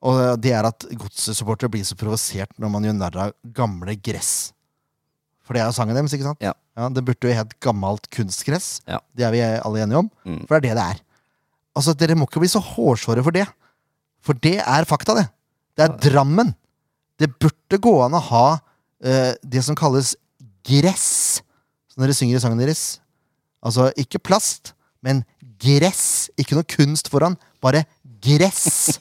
Speaker 1: Og det er at godssupportere blir så provosert når man gjør narr av gamle gress. For det er jo sangen deres, ikke sant?
Speaker 2: Ja.
Speaker 1: det burde jo hett gammelt kunstgress.
Speaker 2: Ja.
Speaker 1: Det er vi alle enige om.
Speaker 2: Mm.
Speaker 1: For det er det det er. Altså, Dere må ikke bli så hårsåre for det. For det er fakta, det. Det er Drammen. Det burde gå an å ha eh, det som kalles gress, som dere synger i sangen deres. Altså ikke plast, men gress. Ikke noe kunst foran, bare gress.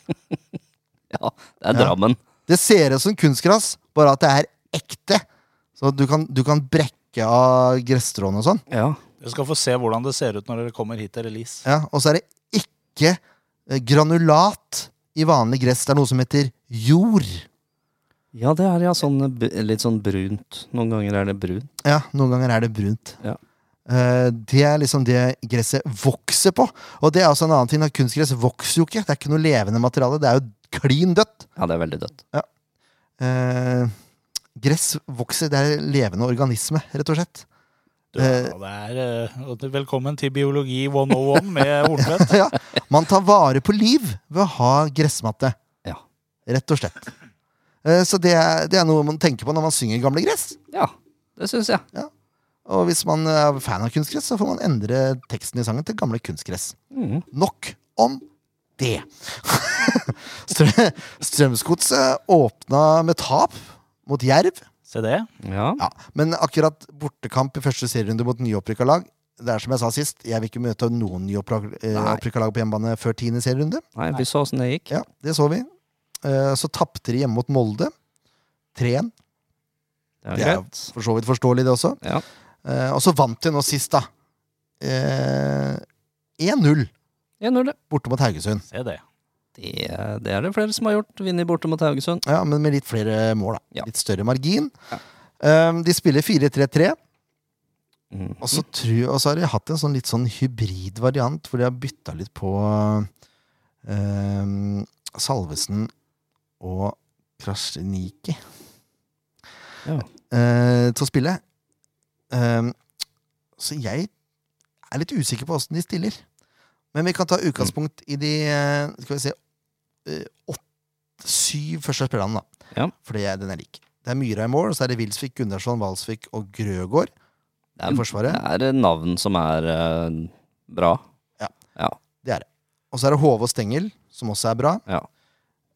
Speaker 2: Ja, det er
Speaker 1: Ja.
Speaker 2: Drammen.
Speaker 1: Det ser ut som kunstgress, bare at det er ekte. Så du kan, du kan brekke av gresstråene og sånn.
Speaker 2: Ja.
Speaker 3: Dere skal få se hvordan det ser ut når dere kommer hit til release.
Speaker 1: Ja, og så er det ikke eh, granulat i vanlig gress. Det er noe som heter jord.
Speaker 2: Ja, det er ja, sånn, eh, bu- litt sånn brunt. Noen ganger er det brunt.
Speaker 1: Ja, noen ganger er det brunt.
Speaker 2: Ja.
Speaker 1: Eh, det er liksom det gresset vokser på. Og det er også en annen ting, at kunstgress vokser jo ikke. Det er ikke noe levende materiale. Det er jo klin dødt.
Speaker 2: Ja, det er veldig dødt.
Speaker 1: Eh, gress vokser, det er levende organisme, rett og slett.
Speaker 3: Du, ja, det er, eh, velkommen til Biologi 101 med Hornvedt.
Speaker 1: ja. Man tar vare på liv ved å ha gressmatte.
Speaker 2: Ja.
Speaker 1: Rett og slett. Eh, Så det er, det er noe man tenker på når man synger Gamle gress.
Speaker 2: Ja, det syns jeg.
Speaker 1: Og hvis man er fan av kunstgress, så får man endre teksten i sangen til Gamle kunstgress.
Speaker 2: Mhm.
Speaker 1: Nok om det. Strø- Strømsgodset åpna med tap mot Jerv.
Speaker 3: Se det.
Speaker 2: Ja.
Speaker 1: Ja, men akkurat bortekamp i første serierunde mot nyopprykka lag Det er som jeg sa sist, jeg vil ikke møte noen
Speaker 2: Nei.
Speaker 1: nyopprykka lag på hjemmebane før tiende serierunde.
Speaker 2: Nei, vi så åssen det gikk.
Speaker 1: Ja, det så vi. Eh, Så tapte de hjemme mot Molde. 3-1.
Speaker 2: Det er
Speaker 1: Det er jo
Speaker 2: greit.
Speaker 1: For så vidt forståelig, det også.
Speaker 2: Ja.
Speaker 1: Eh, Og så vant de nå sist, da. Eh, 1-0
Speaker 2: Ja, når det.
Speaker 1: borte mot Haugesund.
Speaker 3: Se det.
Speaker 2: Det, det er det flere som har gjort. Vinner borte mot Haugesund.
Speaker 1: Ja, Men med litt flere mål, da.
Speaker 2: Ja.
Speaker 1: Litt større margin.
Speaker 2: Ja.
Speaker 1: Eh, De spiller 4-3-3.
Speaker 2: Mhm.
Speaker 1: Og så, tror, og så har de hatt en sånn litt sånn hybrid variant, hvor de har bytta litt på eh, Salvesen og Krasjniki
Speaker 2: Ja.
Speaker 1: eh, til å spille. Eh, så jeg er litt usikker på åssen de stiller. Men vi kan ta utgangspunkt i de eh, skal vi se, eh, åtte, syv første spillerne, da.
Speaker 2: Ja.
Speaker 1: For det er den jeg liker. Det er Myra i mål, og så er det Wilsvik, Gunderson, Valsvik og Grøgaard i
Speaker 2: Det er,
Speaker 1: forsvaret.
Speaker 2: det er navn som er eh, bra.
Speaker 1: Ja.
Speaker 2: Ja.
Speaker 1: Og så er det Hove og Stengel, som også er bra.
Speaker 2: Ja.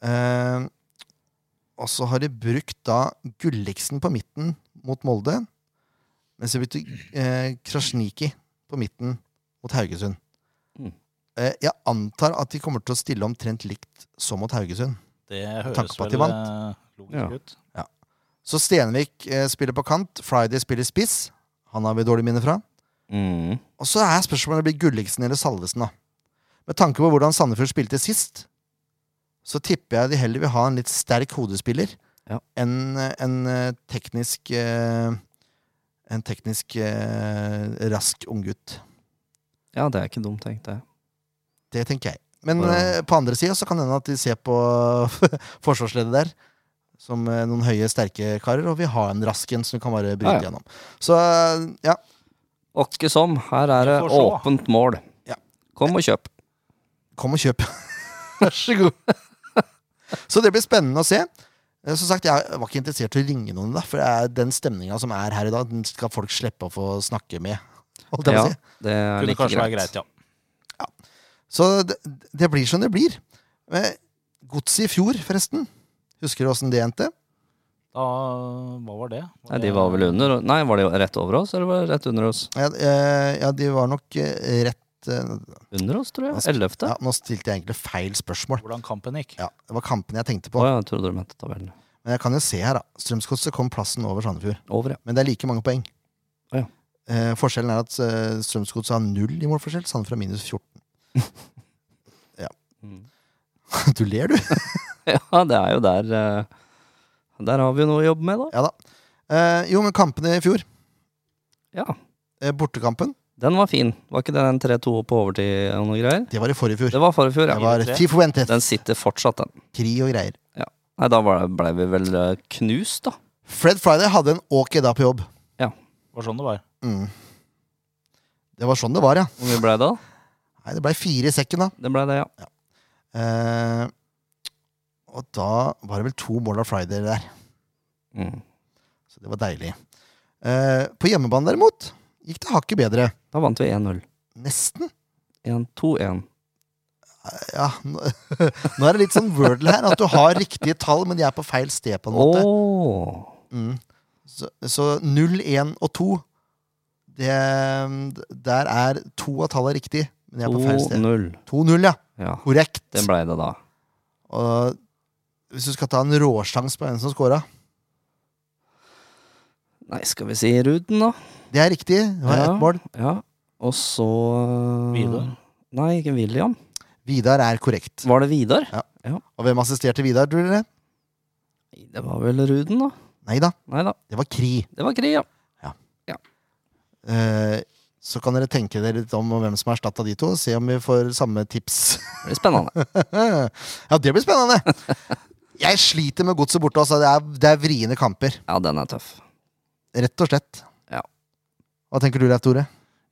Speaker 1: Eh, og så har de brukt da Gulliksen på midten mot Molde. Mens de brukte eh, Krasjniki på midten mot Haugesund.
Speaker 2: Mm.
Speaker 1: Eh, jeg antar at de kommer til å stille omtrent likt som mot Haugesund.
Speaker 3: Det
Speaker 1: Takk
Speaker 3: høres
Speaker 1: for at de
Speaker 3: vel eh,
Speaker 2: Ja.
Speaker 3: logisk ut.
Speaker 1: Så Stenvik eh, spiller på kant, Friday spiller spiss. Han har vi dårlige minner fra.
Speaker 2: Mhm.
Speaker 1: Og så er spørsmålet om det blir Gulliksen eller Salvesen, da. Med tanke på hvordan Sandefjord spilte sist, så tipper jeg de heller vil ha en litt sterk hodespiller
Speaker 2: Ja.
Speaker 1: enn eh, en eh, teknisk eh, En teknisk eh, rask unggutt.
Speaker 2: ja, det er ikke dumt tenkt, det.
Speaker 1: Det tenker jeg. Men
Speaker 2: Ja.
Speaker 1: eh, på andre sida så kan det hende at de ser på forsvarsleddet der som eh, noen høye, sterke karer, og vi har en rask en som kan bare bryte
Speaker 2: Ja, ja.
Speaker 1: gjennom. Så eh, ja,
Speaker 2: Åkke som, her er det
Speaker 3: Vi får se.
Speaker 2: åpent mål.
Speaker 1: Ja.
Speaker 2: Kom og kjøp.
Speaker 1: Kom og kjøp. Vær så god. så det blir spennende å se. Eh, Som sagt, Jeg var ikke interessert i å ringe noen, da, for det er den stemninga som er her i dag, den skal folk slippe å få snakke med. holdt jeg på
Speaker 2: Ja,
Speaker 1: å si.
Speaker 2: det er
Speaker 3: Kunne
Speaker 2: like
Speaker 3: kanskje være
Speaker 2: greit.
Speaker 3: greit, ja.
Speaker 1: Så det, det blir som det blir. Eh, Godset i fjor, forresten. Husker du åssen det endte?
Speaker 3: Da, hva var det?
Speaker 2: Nei, de var vel under Nei, var de rett over oss, eller var de rett under oss?
Speaker 1: Ja, eh, ja de var nok eh, rett eh,
Speaker 2: Under oss, tror jeg. Ellevte?
Speaker 1: ja, Nå stilte jeg egentlig feil spørsmål.
Speaker 3: Hvordan kampen gikk.
Speaker 1: Ja, Det var kampene jeg tenkte
Speaker 2: Å
Speaker 1: på.
Speaker 2: ja, jeg trodde du mente tabellen.
Speaker 1: Men jeg kan jo se her, da. Strømsgodset kom plassen over Sandefjord.
Speaker 2: Over, ja.
Speaker 1: Men det er like mange poeng.
Speaker 2: Å, ja.
Speaker 1: Eh, forskjellen er at eh, Strømsgodset har null i målforskjell, Sandefjord har minus 14.
Speaker 2: Mm.
Speaker 1: du ler, du!
Speaker 2: Ja, det er jo der eh, Der har vi jo noe å jobbe med, da.
Speaker 1: ja da. Eh, jo, men kampene i fjor.
Speaker 2: Ja.
Speaker 1: Eh, bortekampen,
Speaker 2: Den var fin. Var ikke det den 3-2 på overtid og noe greier?
Speaker 1: det var i forrige fjor.
Speaker 2: Det var forrige fjor,
Speaker 1: Det
Speaker 2: ja.
Speaker 1: var
Speaker 3: Tre.
Speaker 1: Tifuentes,
Speaker 2: Den sitter fortsatt, den.
Speaker 1: krig og greier.
Speaker 2: Nei, da var det- ble vi vel eh, knust, da.
Speaker 1: Fred Friday hadde en ok dag på jobb.
Speaker 3: Det var sånn det var.
Speaker 1: Mm. Det var sånn det var, ja.
Speaker 2: Hvor mye ble det, da?
Speaker 1: Nei, Det blei fire i sekken, da.
Speaker 2: Det ble det, ja.
Speaker 1: Eh, og da var det vel to mål av Friday der.
Speaker 2: Mm.
Speaker 1: Så det var deilig. Eh, på hjemmebane, derimot, gikk det hakket bedre.
Speaker 2: Da vant vi 1-0.
Speaker 1: Nesten.
Speaker 2: 1-2-1.
Speaker 1: ja, nå, nå er det litt sånn wordle her, at du har riktige tall, men de er på feil sted, på en måte.
Speaker 2: Åh
Speaker 1: Mm. Så, så 0, 1 og 2 det, Der er to av tallene riktig, men de er på feil sted.
Speaker 2: 2-0.
Speaker 1: 2-0, ja.
Speaker 2: Ja,
Speaker 1: Korrekt.
Speaker 2: det ble det da.
Speaker 1: Og hvis du skal ta en råsjans på en som scora
Speaker 2: Nei, skal vi si Ruden, da?
Speaker 1: Det er riktig. Det var
Speaker 2: Ja.
Speaker 1: ett mål.
Speaker 2: Ja. Og så eh,
Speaker 3: Vidar?
Speaker 2: Nei, ikke William.
Speaker 1: Vidar er korrekt.
Speaker 2: Var det Vidar?
Speaker 1: Og hvem assisterte Vidar, tror dere?
Speaker 2: Nei, det var vel Ruden, da.
Speaker 1: Nei da,
Speaker 2: Nei da.
Speaker 1: det var Kri.
Speaker 2: Det var Kri, ja.
Speaker 1: Eh, så kan dere tenke dere litt om hvem som har erstatta de to, og se om vi får samme tips.
Speaker 2: Det blir spennende.
Speaker 1: Ja, det blir spennende! Jeg sliter med godset borte. Altså. Det, er, det er vriene kamper,
Speaker 2: Ja, den er tøff.
Speaker 1: rett og slett.
Speaker 2: Ja.
Speaker 1: Hva tenker du, Leif Tore?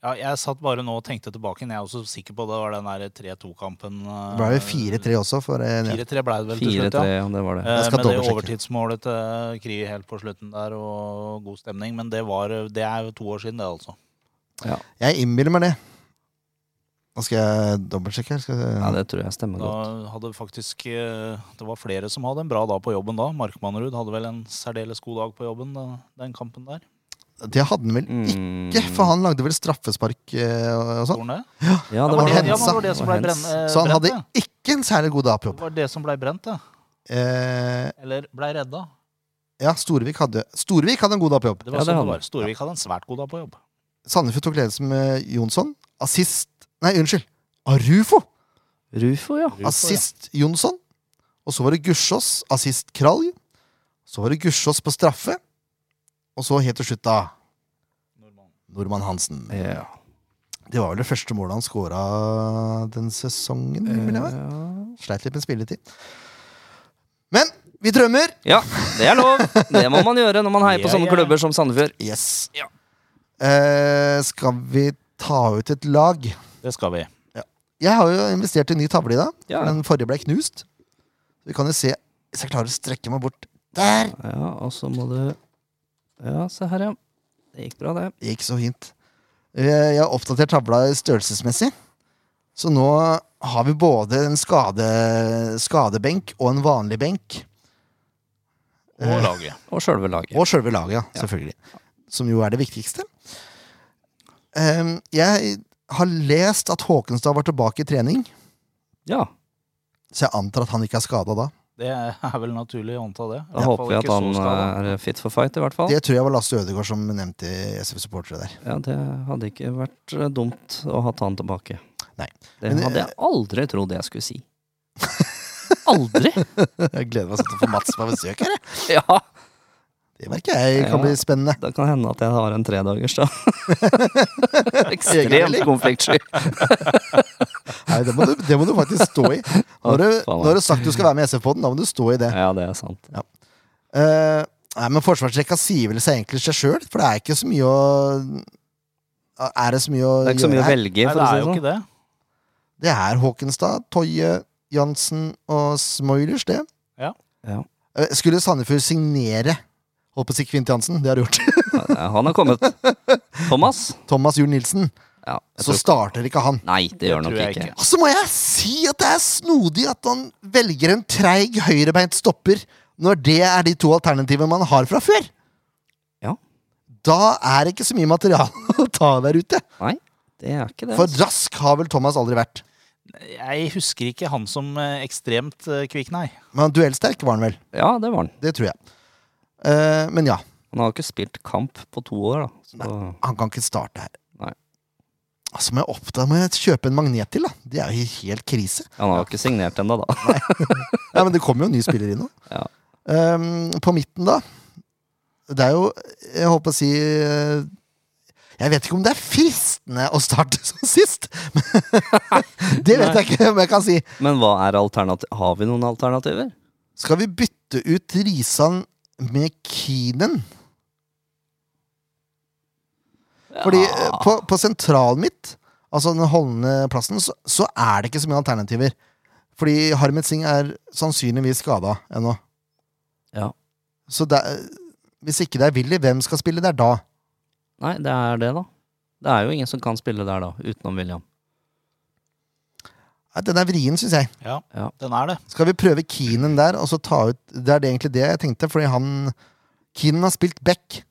Speaker 3: Ja, jeg satt bare nå og tenkte tilbake. men Jeg er også sikker på det var den der 3-2-kampen.
Speaker 1: Det ble jo 4-3 også. For, eh,
Speaker 3: 4-3 ble det vel til
Speaker 2: 4-3,
Speaker 3: slutt, ja.
Speaker 2: ja. Det var det.
Speaker 3: Eh,
Speaker 1: Jeg skal
Speaker 3: Med det
Speaker 1: dobbeltsjekke.
Speaker 3: overtidsmålet til Kri helt på slutten der, og god stemning. Men det, var, eh, det er jo to år siden, det, altså.
Speaker 1: jeg innbiller meg det. Nå skal jeg dobbeltsjekke. her, Skal jeg...
Speaker 2: Ja, det tror jeg stemmer
Speaker 3: Da
Speaker 2: godt.
Speaker 3: hadde faktisk eh, Det var flere som hadde en bra dag på jobben da. Markmannerud hadde vel en særdeles god dag på jobben den, den kampen der.
Speaker 1: Det hadde han vel
Speaker 2: Mm.
Speaker 1: ikke, for han lagde vel straffespark eh, og sånn.
Speaker 3: Gjorde han det?
Speaker 2: Ja, det
Speaker 3: Ja, men
Speaker 2: var
Speaker 3: det,
Speaker 1: Hens,
Speaker 3: ja, men det
Speaker 2: Hensa.
Speaker 3: var det som
Speaker 2: Det
Speaker 3: ble
Speaker 2: var
Speaker 3: brenn,
Speaker 2: Hens.
Speaker 3: eh,
Speaker 1: Så han
Speaker 3: brent,
Speaker 1: hadde
Speaker 3: det.
Speaker 1: ikke en særlig god dag på
Speaker 3: Det
Speaker 1: jobb.
Speaker 3: var det som ble brent, det.
Speaker 1: Eh,
Speaker 3: Eller ble redda.
Speaker 1: ja, Storvik hadde Storvik hadde en god dag på jobb.
Speaker 3: Det
Speaker 2: Ja,
Speaker 3: var
Speaker 2: det
Speaker 3: sånn
Speaker 2: hadde
Speaker 3: det var. Storvik hadde en svært god dag på jobb.
Speaker 1: Sandefjord tok ledelsen med Jonsson. Assist Nei, unnskyld. Arufo!
Speaker 2: Rufo, ja.
Speaker 1: Assist Jonsson. Og så var det Gussiås. Assist Kralj. Så var det Gussiås på straffe. Og så helt til slutt, da, Nordmann Hansen.
Speaker 2: Ja.
Speaker 1: Det var vel det første målet han skåra den sesongen. vil
Speaker 2: Eh.
Speaker 1: jeg være. Sleit litt med spilletid. Men vi drømmer!
Speaker 2: Ja, det er lov. Det må man gjøre når man heier på
Speaker 3: Ja,
Speaker 2: sånne
Speaker 3: ja.
Speaker 2: klubber som Sandefjord.
Speaker 1: Yes.
Speaker 2: Ja.
Speaker 1: Eh, skal vi ta ut et lag?
Speaker 3: Det skal vi.
Speaker 1: Jeg har jo investert i en ny tavle i dag,
Speaker 2: Ja.
Speaker 1: men forrige ble knust. Vi kan jo se hvis jeg klarer å strekke meg bort der.
Speaker 2: Ja, og så må du Ja, se her, ja. Det gikk bra, det.
Speaker 1: Det gikk så fint. Eh, Jeg har oppdatert tavla størrelsesmessig. Så nå har vi både en skade, skadebenk og en vanlig benk.
Speaker 2: Eh.
Speaker 3: Og laget.
Speaker 2: Og sjølve laget.
Speaker 1: Og sjølve laget, ja, selvfølgelig. Som jo er det viktigste. Ehm, jeg har lest at Håkenstad var tilbake i trening,
Speaker 2: Ja,
Speaker 1: så jeg antar at han ikke er skada da.
Speaker 3: Det er vel naturlig å anta det. I
Speaker 2: Da
Speaker 3: hvert
Speaker 2: håper
Speaker 3: fall
Speaker 2: vi at
Speaker 3: ikke så
Speaker 2: han eh,
Speaker 3: skadet.
Speaker 2: er fit for fight, i hvert fall.
Speaker 1: Det tror jeg var Lasse Ødegaard som nevnte i SV Supportere der.
Speaker 2: Ja, Det hadde ikke vært eh, dumt å ha han tilbake.
Speaker 1: Nei.
Speaker 2: Det
Speaker 1: Men,
Speaker 2: hadde
Speaker 1: eh,
Speaker 2: jeg aldri trodd jeg skulle si. Aldri!
Speaker 1: Jeg gleder meg sånn til å få Mats på besøk her. jeg.
Speaker 2: Ja,
Speaker 1: Det merker jeg kan bli spennende.
Speaker 2: Det kan hende at jeg har en tredagers, da. Ekstremt
Speaker 1: Egentlig.
Speaker 2: konfliktsky.
Speaker 1: Nei, det, må du, det må du faktisk stå i. Nå har du,
Speaker 2: Å, faen.
Speaker 1: nå har du sagt du skal være med i SF-poden, da må du stå i det.
Speaker 2: Ja, det er sant.
Speaker 1: Eh, nei, men forsvarsrekka sier vel seg egentlig seg sjøl, for det er ikke så mye å Er det så mye å
Speaker 2: Det er ikke så mye
Speaker 1: gjøre
Speaker 2: å
Speaker 1: her?
Speaker 2: velge i,
Speaker 3: Nei,
Speaker 2: for å
Speaker 3: det er
Speaker 2: si det
Speaker 3: jo
Speaker 2: sånn.
Speaker 3: ikke det.
Speaker 1: Det er Håkenstad, Toje, Jansen og Smoilers, det.
Speaker 3: Ja.
Speaker 2: Ja.
Speaker 1: Eh, Skulle Sandefjord signere Holdt på å si Kvint Jansen, det har de gjort.
Speaker 2: Ja, Han har kommet. Thomas?
Speaker 1: Thomas Juel Nilsen.
Speaker 2: Ja, jeg
Speaker 1: Så
Speaker 2: tror...
Speaker 1: starter ikke han.
Speaker 2: Nei, det gjør
Speaker 3: tror
Speaker 2: nok
Speaker 3: jeg
Speaker 2: ikke.
Speaker 3: ikke.
Speaker 1: Og så må jeg si at det er snodig at han velger en treig høyrebeint stopper, når det er de to alternativene man har fra før.
Speaker 2: Ja.
Speaker 1: Da er det ikke så mye materiale å ta der ute.
Speaker 2: Nei, det er ikke det.
Speaker 1: For
Speaker 2: altså.
Speaker 1: rask har vel Thomas aldri vært.
Speaker 3: Jeg husker ikke han som eh, ekstremt eh, kvikk, nei.
Speaker 1: Men duellsterk var han vel.
Speaker 2: Ja, det var han.
Speaker 1: Det tror jeg. Eh, men ja,
Speaker 2: Han har jo ikke spilt kamp på to år, da. Så...
Speaker 1: han kan ikke starte her.
Speaker 2: Nei.
Speaker 1: Altså, må jeg oppdage, må jeg kjøpe en magnet til, da. Det er jo helt krise.
Speaker 2: Han har jo ikke signert ennå, da.
Speaker 1: Ja, men det kommer jo nye spillere inn nå.
Speaker 2: Ja.
Speaker 1: Ehm, på midten, da. Det er jo, jeg holdt på å si eh, Jeg vet ikke om det er fristende å starte som sist! det vet jeg ikke om jeg kan si.
Speaker 2: Men hva er alternativ... Har vi noen alternativer?
Speaker 1: Skal vi bytte ut Risan med Keenan? Fordi eh, på, på sentralen mitt, altså den holdende plassen, så, så er det ikke så mye alternativer. Fordi Harmet Singh er sannsynligvis skada ennå.
Speaker 2: Ja.
Speaker 1: Så det, er- hvis ikke det er Willy, hvem skal spille der da?
Speaker 2: Nei, det er det, da. Det er jo ingen som kan spille der, da, utenom William.
Speaker 1: Nei, Den er vrien, syns jeg.
Speaker 3: Ja,
Speaker 2: Ja.
Speaker 3: den er det.
Speaker 1: Skal vi prøve Keenan der, og så ta ut Det er det egentlig det jeg tenkte, fordi han Keenan har spilt back.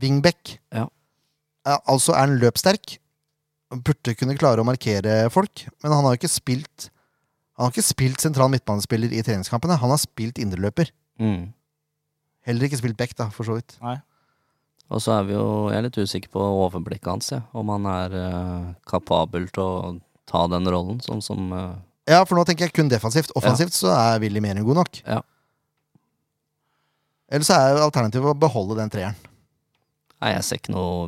Speaker 1: Wingback.
Speaker 2: Ja.
Speaker 1: Eh, Altså er han løpssterk. Burde kunne klare å markere folk, men han har ikke spilt Han har ikke spilt sentral midtbanespiller i treningskampene. Han har spilt indreløper.
Speaker 2: Mm.
Speaker 1: Heller ikke spilt back, da, for så vidt.
Speaker 2: Og så er vi jo Jeg er litt usikker på overblikket hans, jeg. Om han er eh, kapabel til å ta den rollen, sånn som eh,
Speaker 1: Ja, for nå tenker jeg kun defensivt. Offensivt så er Willy mer enn god nok.
Speaker 2: Ja.
Speaker 1: Eller så er jo alternativet å beholde den treeren.
Speaker 2: Nei, jeg ser ikke noe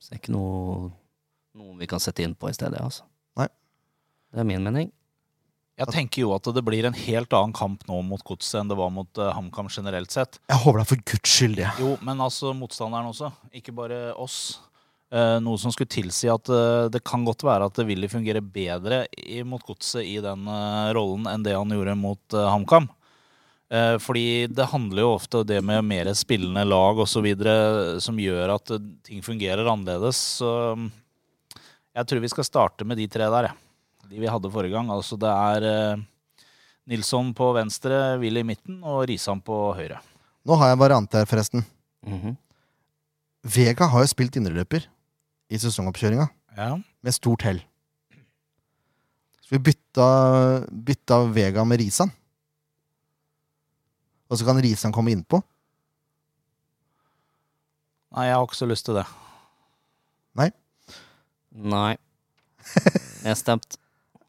Speaker 2: Ser ikke noe Noen vi kan sette inn på i stedet, altså.
Speaker 1: Nei.
Speaker 2: Det er min mening.
Speaker 3: Jeg tenker jo at det blir en helt annen kamp nå mot Godset enn det var mot eh, HamKam generelt sett.
Speaker 1: Jeg håper det er for guds skyld, det.
Speaker 3: Jo, men altså motstanderen også, ikke bare oss. Eh, noe som skulle tilsi at eh, det kan godt være at Willy fungerer bedre i, mot godset i den eh, rollen enn det han gjorde mot eh, HamKam. Eh, fordi det handler jo ofte om det med mer spillende lag osv. som gjør at eh, ting fungerer annerledes. Så mm, jeg tror vi skal starte med de tre der, jeg. De vi hadde forrige gang. Altså det er eh, Nilsson på venstre, Willy i midten og Risan på høyre.
Speaker 1: Nå har jeg en variant her, forresten.
Speaker 2: Mhm.
Speaker 1: Vega har jo spilt indreløper i sesongoppkjøringa,
Speaker 3: Ja.
Speaker 1: med stort hell. Så vi bytta, bytta Vega med Risan. Og så kan Risan komme innpå.
Speaker 3: Nei, jeg har ikke så lyst til det.
Speaker 2: Nei. Jeg stemte.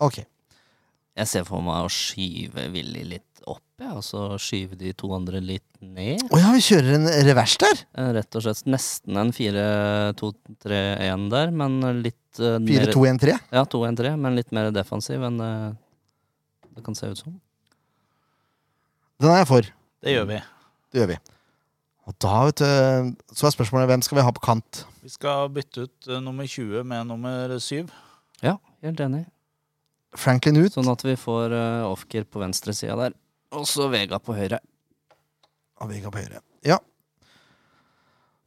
Speaker 1: Ok.
Speaker 2: Jeg ser for meg å skyve Willy litt opp, ja, og så skyve de to andre litt ned.
Speaker 1: Å ja, vi kjører en revers der!
Speaker 2: Eh, Rett og slett nesten en 4-2-3-1 der, men litt eh, mer
Speaker 1: 4-2-1-3.
Speaker 2: Ja, 2-1-3, men litt mer defensiv enn eh, det kan se ut som.
Speaker 1: Den er jeg for.
Speaker 3: Det gjør vi.
Speaker 1: Det gjør vi. Og da, vet du, så er spørsmålet hvem skal vi ha på kant?
Speaker 3: Vi skal bytte ut eh, nummer 20 med nummer 7.
Speaker 2: Ja, helt enig.
Speaker 1: Franklin ut.
Speaker 2: Sånn at vi får uh, Ofker på venstre sida der, og så Vega på høyre.
Speaker 1: Og Vega på høyre. Ja.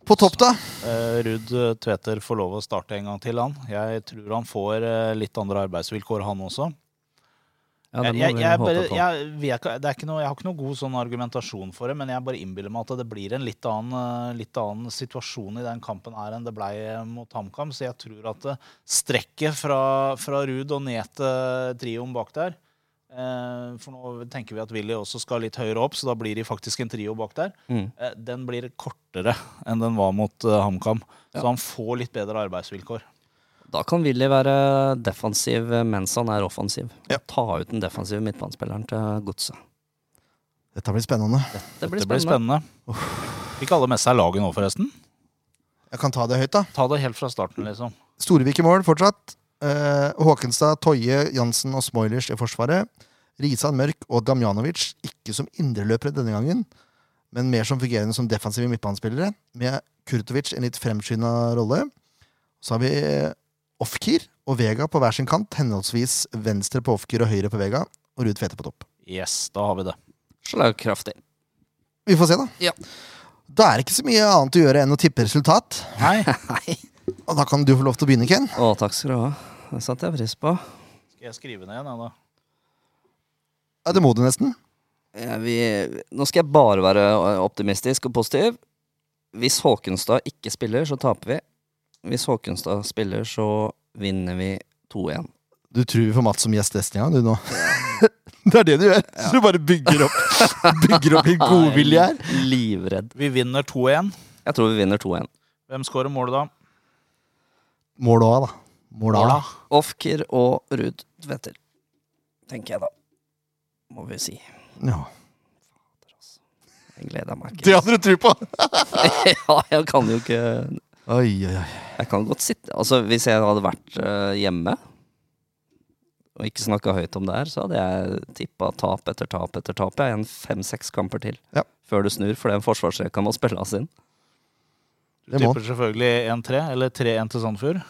Speaker 1: På topp, da?
Speaker 3: Eh, Ruud eh, Tveter får lov å starte en gang til, han. Jeg tror han får eh, litt andre arbeidsvilkår, han også.
Speaker 2: Ja, det må
Speaker 3: Jeg, jeg,
Speaker 2: vi
Speaker 3: jeg,
Speaker 2: håpe
Speaker 3: bare,
Speaker 2: på.
Speaker 3: jeg, vet, ikke- det er ikke noe, jeg har ikke noe god sånn argumentasjon for det, men jeg bare innbiller meg at det blir en litt annen, eh, litt annen situasjon i den kampen her enn det blei eh, mot HamKam. Så jeg tror at eh, strekket fra, fra Ruud og ned til trioen bak der eh, For nå tenker vi at Willy også skal litt høyere opp, så da blir de faktisk en trio bak der.
Speaker 2: Mm.
Speaker 3: Eh, Den blir kortere enn den var mot eh, HamKam,
Speaker 2: Ja.
Speaker 3: så han får litt bedre arbeidsvilkår.
Speaker 2: Da kan Willy være defensiv eh, mens han er offensiv.
Speaker 1: Ja.
Speaker 2: Ta ut den defensive midtbanespilleren til godset.
Speaker 1: Dette blir spennende.
Speaker 2: Det blir
Speaker 3: Det blir
Speaker 2: spennende.
Speaker 3: spennende. Fikk alle med seg laget nå, forresten?
Speaker 1: Jeg kan ta det høyt, da.
Speaker 3: Ta det helt fra starten, liksom.
Speaker 1: Storevik i mål fortsatt. Eh, Håkenstad, Toje, Jansen og Smoilers i forsvaret. Risan Mørk og Damjanovic ikke som indreløpere denne gangen, men mer som fungerende som defensive midtbanespillere, med Kurtovic i en litt fremskynda rolle. Så har vi eh, Ofkir og Vega på hver sin kant, henholdsvis venstre på Ofkir og høyre på Vega, og Ruud Fete på topp.
Speaker 3: Yes, da har vi det.
Speaker 2: Slagkraftig.
Speaker 1: Vi får se, da.
Speaker 2: Ja.
Speaker 1: Da er det ikke så mye annet å gjøre enn å tippe resultat.
Speaker 3: Nei,
Speaker 2: Nei.
Speaker 1: Og da kan du få lov til å begynne, Ken.
Speaker 2: Å, takk skal du ha. Det satte jeg pris på.
Speaker 3: skal jeg skrive ned den, da?
Speaker 1: Ja, det må du nesten.
Speaker 2: Jeg vil- nå skal jeg bare være ø, optimistisk og positiv. Hvis Håkenstad ikke spiller, så taper vi. Hvis Håkenstad spiller, så vinner vi 2-1.
Speaker 1: Du tror vi får Mats som gjest neste gang, du nå. det er det du gjør. Så du bare bygger opp Bygger opp litt godvilje her.
Speaker 2: Jeg er Livredd.
Speaker 3: Vi vinner 2-1.
Speaker 2: Jeg tror vi vinner 2-1.
Speaker 3: Hvem skårer målet, da?
Speaker 1: Mål òg, da. Mål òg, da.
Speaker 2: Ofker og Ruud Tveter, tenker jeg da. Må vi si.
Speaker 1: Ja.
Speaker 2: Jeg gleder meg
Speaker 1: Det
Speaker 2: ikke.
Speaker 1: hadde du tro på!
Speaker 2: ja, jeg kan jo ikke
Speaker 1: Oi, oi, oi.
Speaker 2: Jeg kan godt sitte Altså, hvis jeg hadde vært eh, hjemme og ikke snakka høyt om det her, så hadde jeg tippa tap etter tap etter tap. Jeg en fem-seks kamper til
Speaker 1: Ja.
Speaker 2: før du snur, for den forsvarsrekka må spilles inn.
Speaker 3: Du
Speaker 1: Det må.
Speaker 3: tipper selvfølgelig 1-3, eller 3-1 til Sandefjord.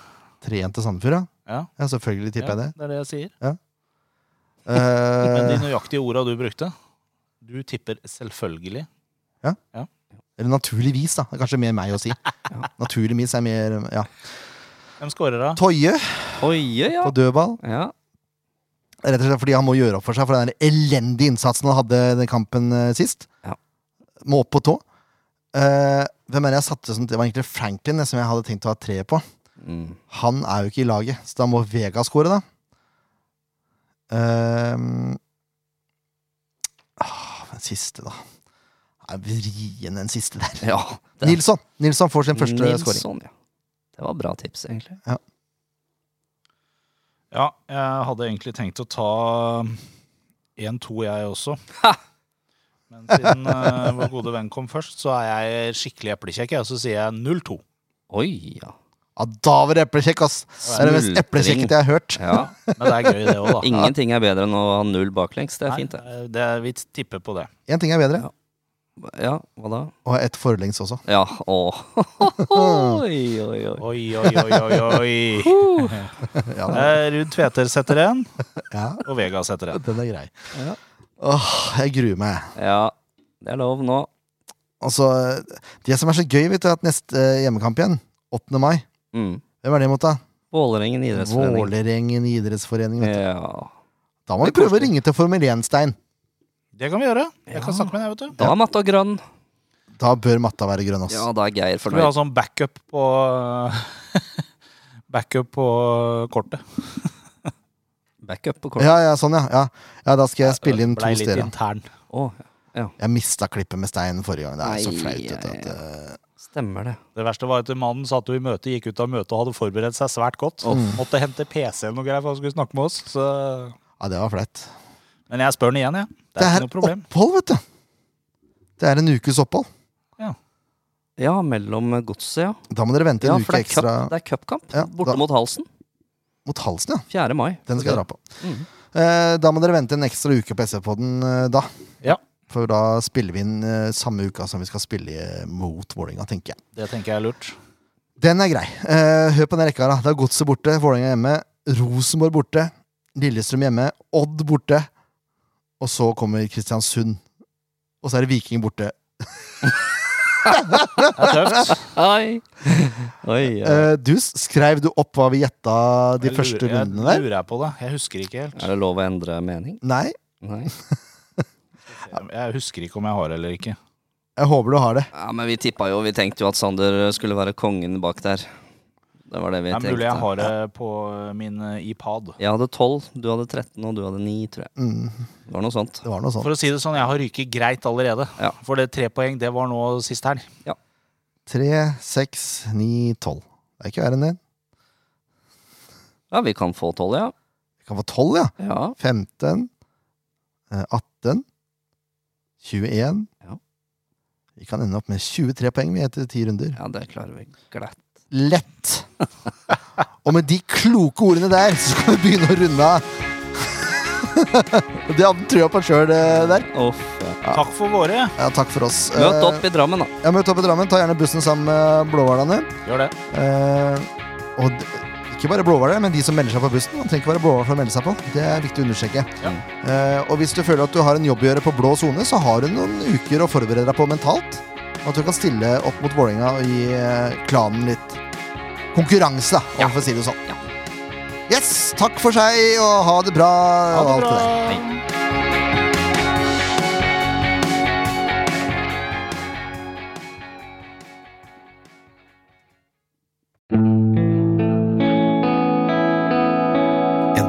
Speaker 1: 3-1 til Sandefjord, ja.
Speaker 3: Ja,
Speaker 1: ja. Selvfølgelig tipper
Speaker 3: ja,
Speaker 1: jeg det.
Speaker 3: det er det jeg sier. Men de
Speaker 1: Eh,
Speaker 3: nøyaktige orda du brukte Du tipper selvfølgelig.
Speaker 1: eller naturligvis, da. Det er kanskje mer meg å si. Naturligvis er mer Ja.
Speaker 3: Hvem skårer, da?
Speaker 1: Toje
Speaker 2: Oi, ja.
Speaker 1: på dødball.
Speaker 2: ja.
Speaker 1: Rett og slett fordi han må gjøre opp for seg for den der elendige innsatsen han hadde i den kampen eh, sist.
Speaker 2: Ja.
Speaker 1: Må opp på tå. Eh, hvem er det jeg satte som Det var egentlig Franklin eh, som jeg hadde tenkt å ha tre på.
Speaker 2: Mm.
Speaker 1: Han er jo ikke i laget, så da må Vega score, da. Ehm. Ah, den siste, da. Det er vrien, den siste der.
Speaker 2: ja. det-
Speaker 1: Nilsson Nilsson får sin første
Speaker 2: Nilsson,
Speaker 1: scoring.
Speaker 2: Ja. Det var bra tips, egentlig.
Speaker 3: Ja, jeg hadde egentlig tenkt å ta 1-2, jeg også. Men siden eh, vår gode venn kom først, så er jeg skikkelig eplekjekk, jeg, og så sier jeg 0-2.
Speaker 2: Oi, ja.
Speaker 1: Ja, Ah, da var det eplekjekk, ass! Det er det mest
Speaker 2: Smultring.
Speaker 1: eplekjekkete jeg har hørt.
Speaker 2: ja.
Speaker 3: Men det er gøy, det òg, da.
Speaker 2: Ingenting er bedre enn å ha null baklengs. Det er fint, det.
Speaker 3: Nei, det er- vi tipper på det.
Speaker 1: Én ting er bedre.
Speaker 2: Ja. Ja, hva da?
Speaker 1: Og ett forlengs også.
Speaker 2: Ja, åh. Oi, oi, oi.
Speaker 3: Oi, oi, oi, oi, oi.
Speaker 1: Ja, da.
Speaker 3: Eh, Ruud Tveter setter en,
Speaker 1: ja,
Speaker 3: og Vega setter en.
Speaker 1: den er grei.
Speaker 2: Ja.
Speaker 1: Åh, jeg gruer meg.
Speaker 2: Ja, det er lov nå.
Speaker 1: Altså, det som er så gøy, vet du, er at neste eh, hjemmekamp igjen, 8. mai
Speaker 2: Mm.
Speaker 1: Hvem er det mot, da?
Speaker 2: Vålerengen idrettsforening.
Speaker 1: Vålerengen idrettsforening. Vet du.
Speaker 2: Ja.
Speaker 1: Da må vi prøve å ringe til Formel 1-Stein.
Speaker 3: Det kan vi gjøre. Jeg kan snakke med deg, vet du.
Speaker 2: Da er matta grønn.
Speaker 1: Da bør matta være grønn, ass.
Speaker 2: Ja, da er Geir
Speaker 3: Skal vi ha
Speaker 2: fornøyd.
Speaker 3: sånn backup på Backup på kortet.
Speaker 2: Backup på kort.
Speaker 1: Ja, ja, sånn, ja. Ja, ja da skal jeg spille inn to
Speaker 3: Blei litt
Speaker 1: stereo.
Speaker 3: intern.
Speaker 2: Å,
Speaker 1: Jeg mista klippet med Stein forrige gang. Det er så
Speaker 2: Ai,
Speaker 1: flaut. vet du,
Speaker 2: ai,
Speaker 1: at, eh,
Speaker 2: stemmer det.
Speaker 3: Det verste var at mannen satt jo i møte, gikk ut av møtet og hadde forberedt seg svært godt. Mm. Måtte hente PC-en og greier for han skulle snakke med oss. Så...
Speaker 1: Ja, det var flaut.
Speaker 3: Men jeg spør han igjen, jeg. Det
Speaker 1: Det
Speaker 3: er
Speaker 1: er
Speaker 3: ikke noe problem.
Speaker 1: opphold, vet du. Det er en ukes opphold.
Speaker 2: Ja, mellom godset, ja.
Speaker 1: Da må dere vente en
Speaker 2: Ja,
Speaker 1: uke
Speaker 2: for det er cup-
Speaker 1: ekstra
Speaker 2: det er cupkamp.
Speaker 1: Ja,
Speaker 2: Borte
Speaker 1: da-
Speaker 2: mot Halsen.
Speaker 1: mot halsen, ja.
Speaker 2: 4. mai.
Speaker 1: Den skal jeg dra på.
Speaker 2: Mhm.
Speaker 1: Eh, da må dere vente en ekstra uke på SV-podden eh, da.
Speaker 3: Ja.
Speaker 1: For da spiller vi inn eh, samme uka som vi skal spille eh, mot Vålerenga, tenker jeg.
Speaker 3: Det tenker jeg er lurt.
Speaker 1: Den er grei. Eh, hør på den rekka. her, da. Det er Godset borte, Vålerenga hjemme, Rosenborg borte, Lillestrøm hjemme, Odd borte. Og så kommer Kristiansund. Og så er det Viking borte.
Speaker 3: Det er tøft.
Speaker 2: Oi. Oi, ja.
Speaker 1: Eh, du, s- skrev du opp hva vi gjetta de
Speaker 3: Jeg
Speaker 1: første
Speaker 3: lurer- jeg
Speaker 1: rundene der?
Speaker 3: Lurer jeg på det. Jeg husker ikke helt.
Speaker 2: Er det lov å endre mening?
Speaker 1: Nei?
Speaker 2: Nei.
Speaker 3: Jeg husker ikke om jeg har eller ikke.
Speaker 1: Jeg håper du har det.
Speaker 2: Ja, men vi tippa jo. Vi tenkte jo at Sander skulle være kongen bak der. Det var det vi
Speaker 3: Det er
Speaker 2: tenkte.
Speaker 3: mulig jeg har det på min eh, iPad.
Speaker 2: Jeg hadde 12, du hadde 13 og du hadde 9, tror jeg.
Speaker 1: Mm,
Speaker 2: Det var noe sånt.
Speaker 1: det var noe sånt.
Speaker 3: For å si det sånn, jeg har ryket greit allerede.
Speaker 2: Ja.
Speaker 3: For det tre poeng, det var nå sist helg.
Speaker 1: Tre, seks, ni, tolv. Det er ikke verre enn det.
Speaker 2: Ja, vi kan få 12, ja.
Speaker 1: Vi kan få tolv, ja.
Speaker 2: Ja,
Speaker 1: 15, eh, 18, 21.
Speaker 2: Ja.
Speaker 1: Vi kan ende opp med 23 poeng vi etter ti runder.
Speaker 2: ja det klarer vi glatt.
Speaker 1: Lett! Og med de kloke ordene der, så skal vi begynne å runde av. Det hadde trua på sjøl eh, der.
Speaker 2: Uff, ja.
Speaker 3: Takk for våre.
Speaker 1: Ja, takk for oss.
Speaker 2: Møt opp i Drammen, da.
Speaker 1: Eh, Ja, møt opp i Drammen. Ta gjerne bussen sammen med blåhvalene.
Speaker 3: Gjør det.
Speaker 1: Eh, og d ikke bare blåhvaler, men de som melder seg på bussen. Man trenger ikke være blåhval for å melde seg på. Det er viktig å understreke.
Speaker 3: Ja.
Speaker 1: Eh, og hvis du føler at du har en jobb å gjøre på blå sone, så har du noen uker å forberede deg på mentalt. Og at du kan stille opp mot Vålerenga og gi eh, klanen litt konkurranse, da, om vi får si det sånn. Yes! Takk for seg, og ha det bra.
Speaker 3: Ha
Speaker 1: og alt
Speaker 3: det bra.
Speaker 1: der. En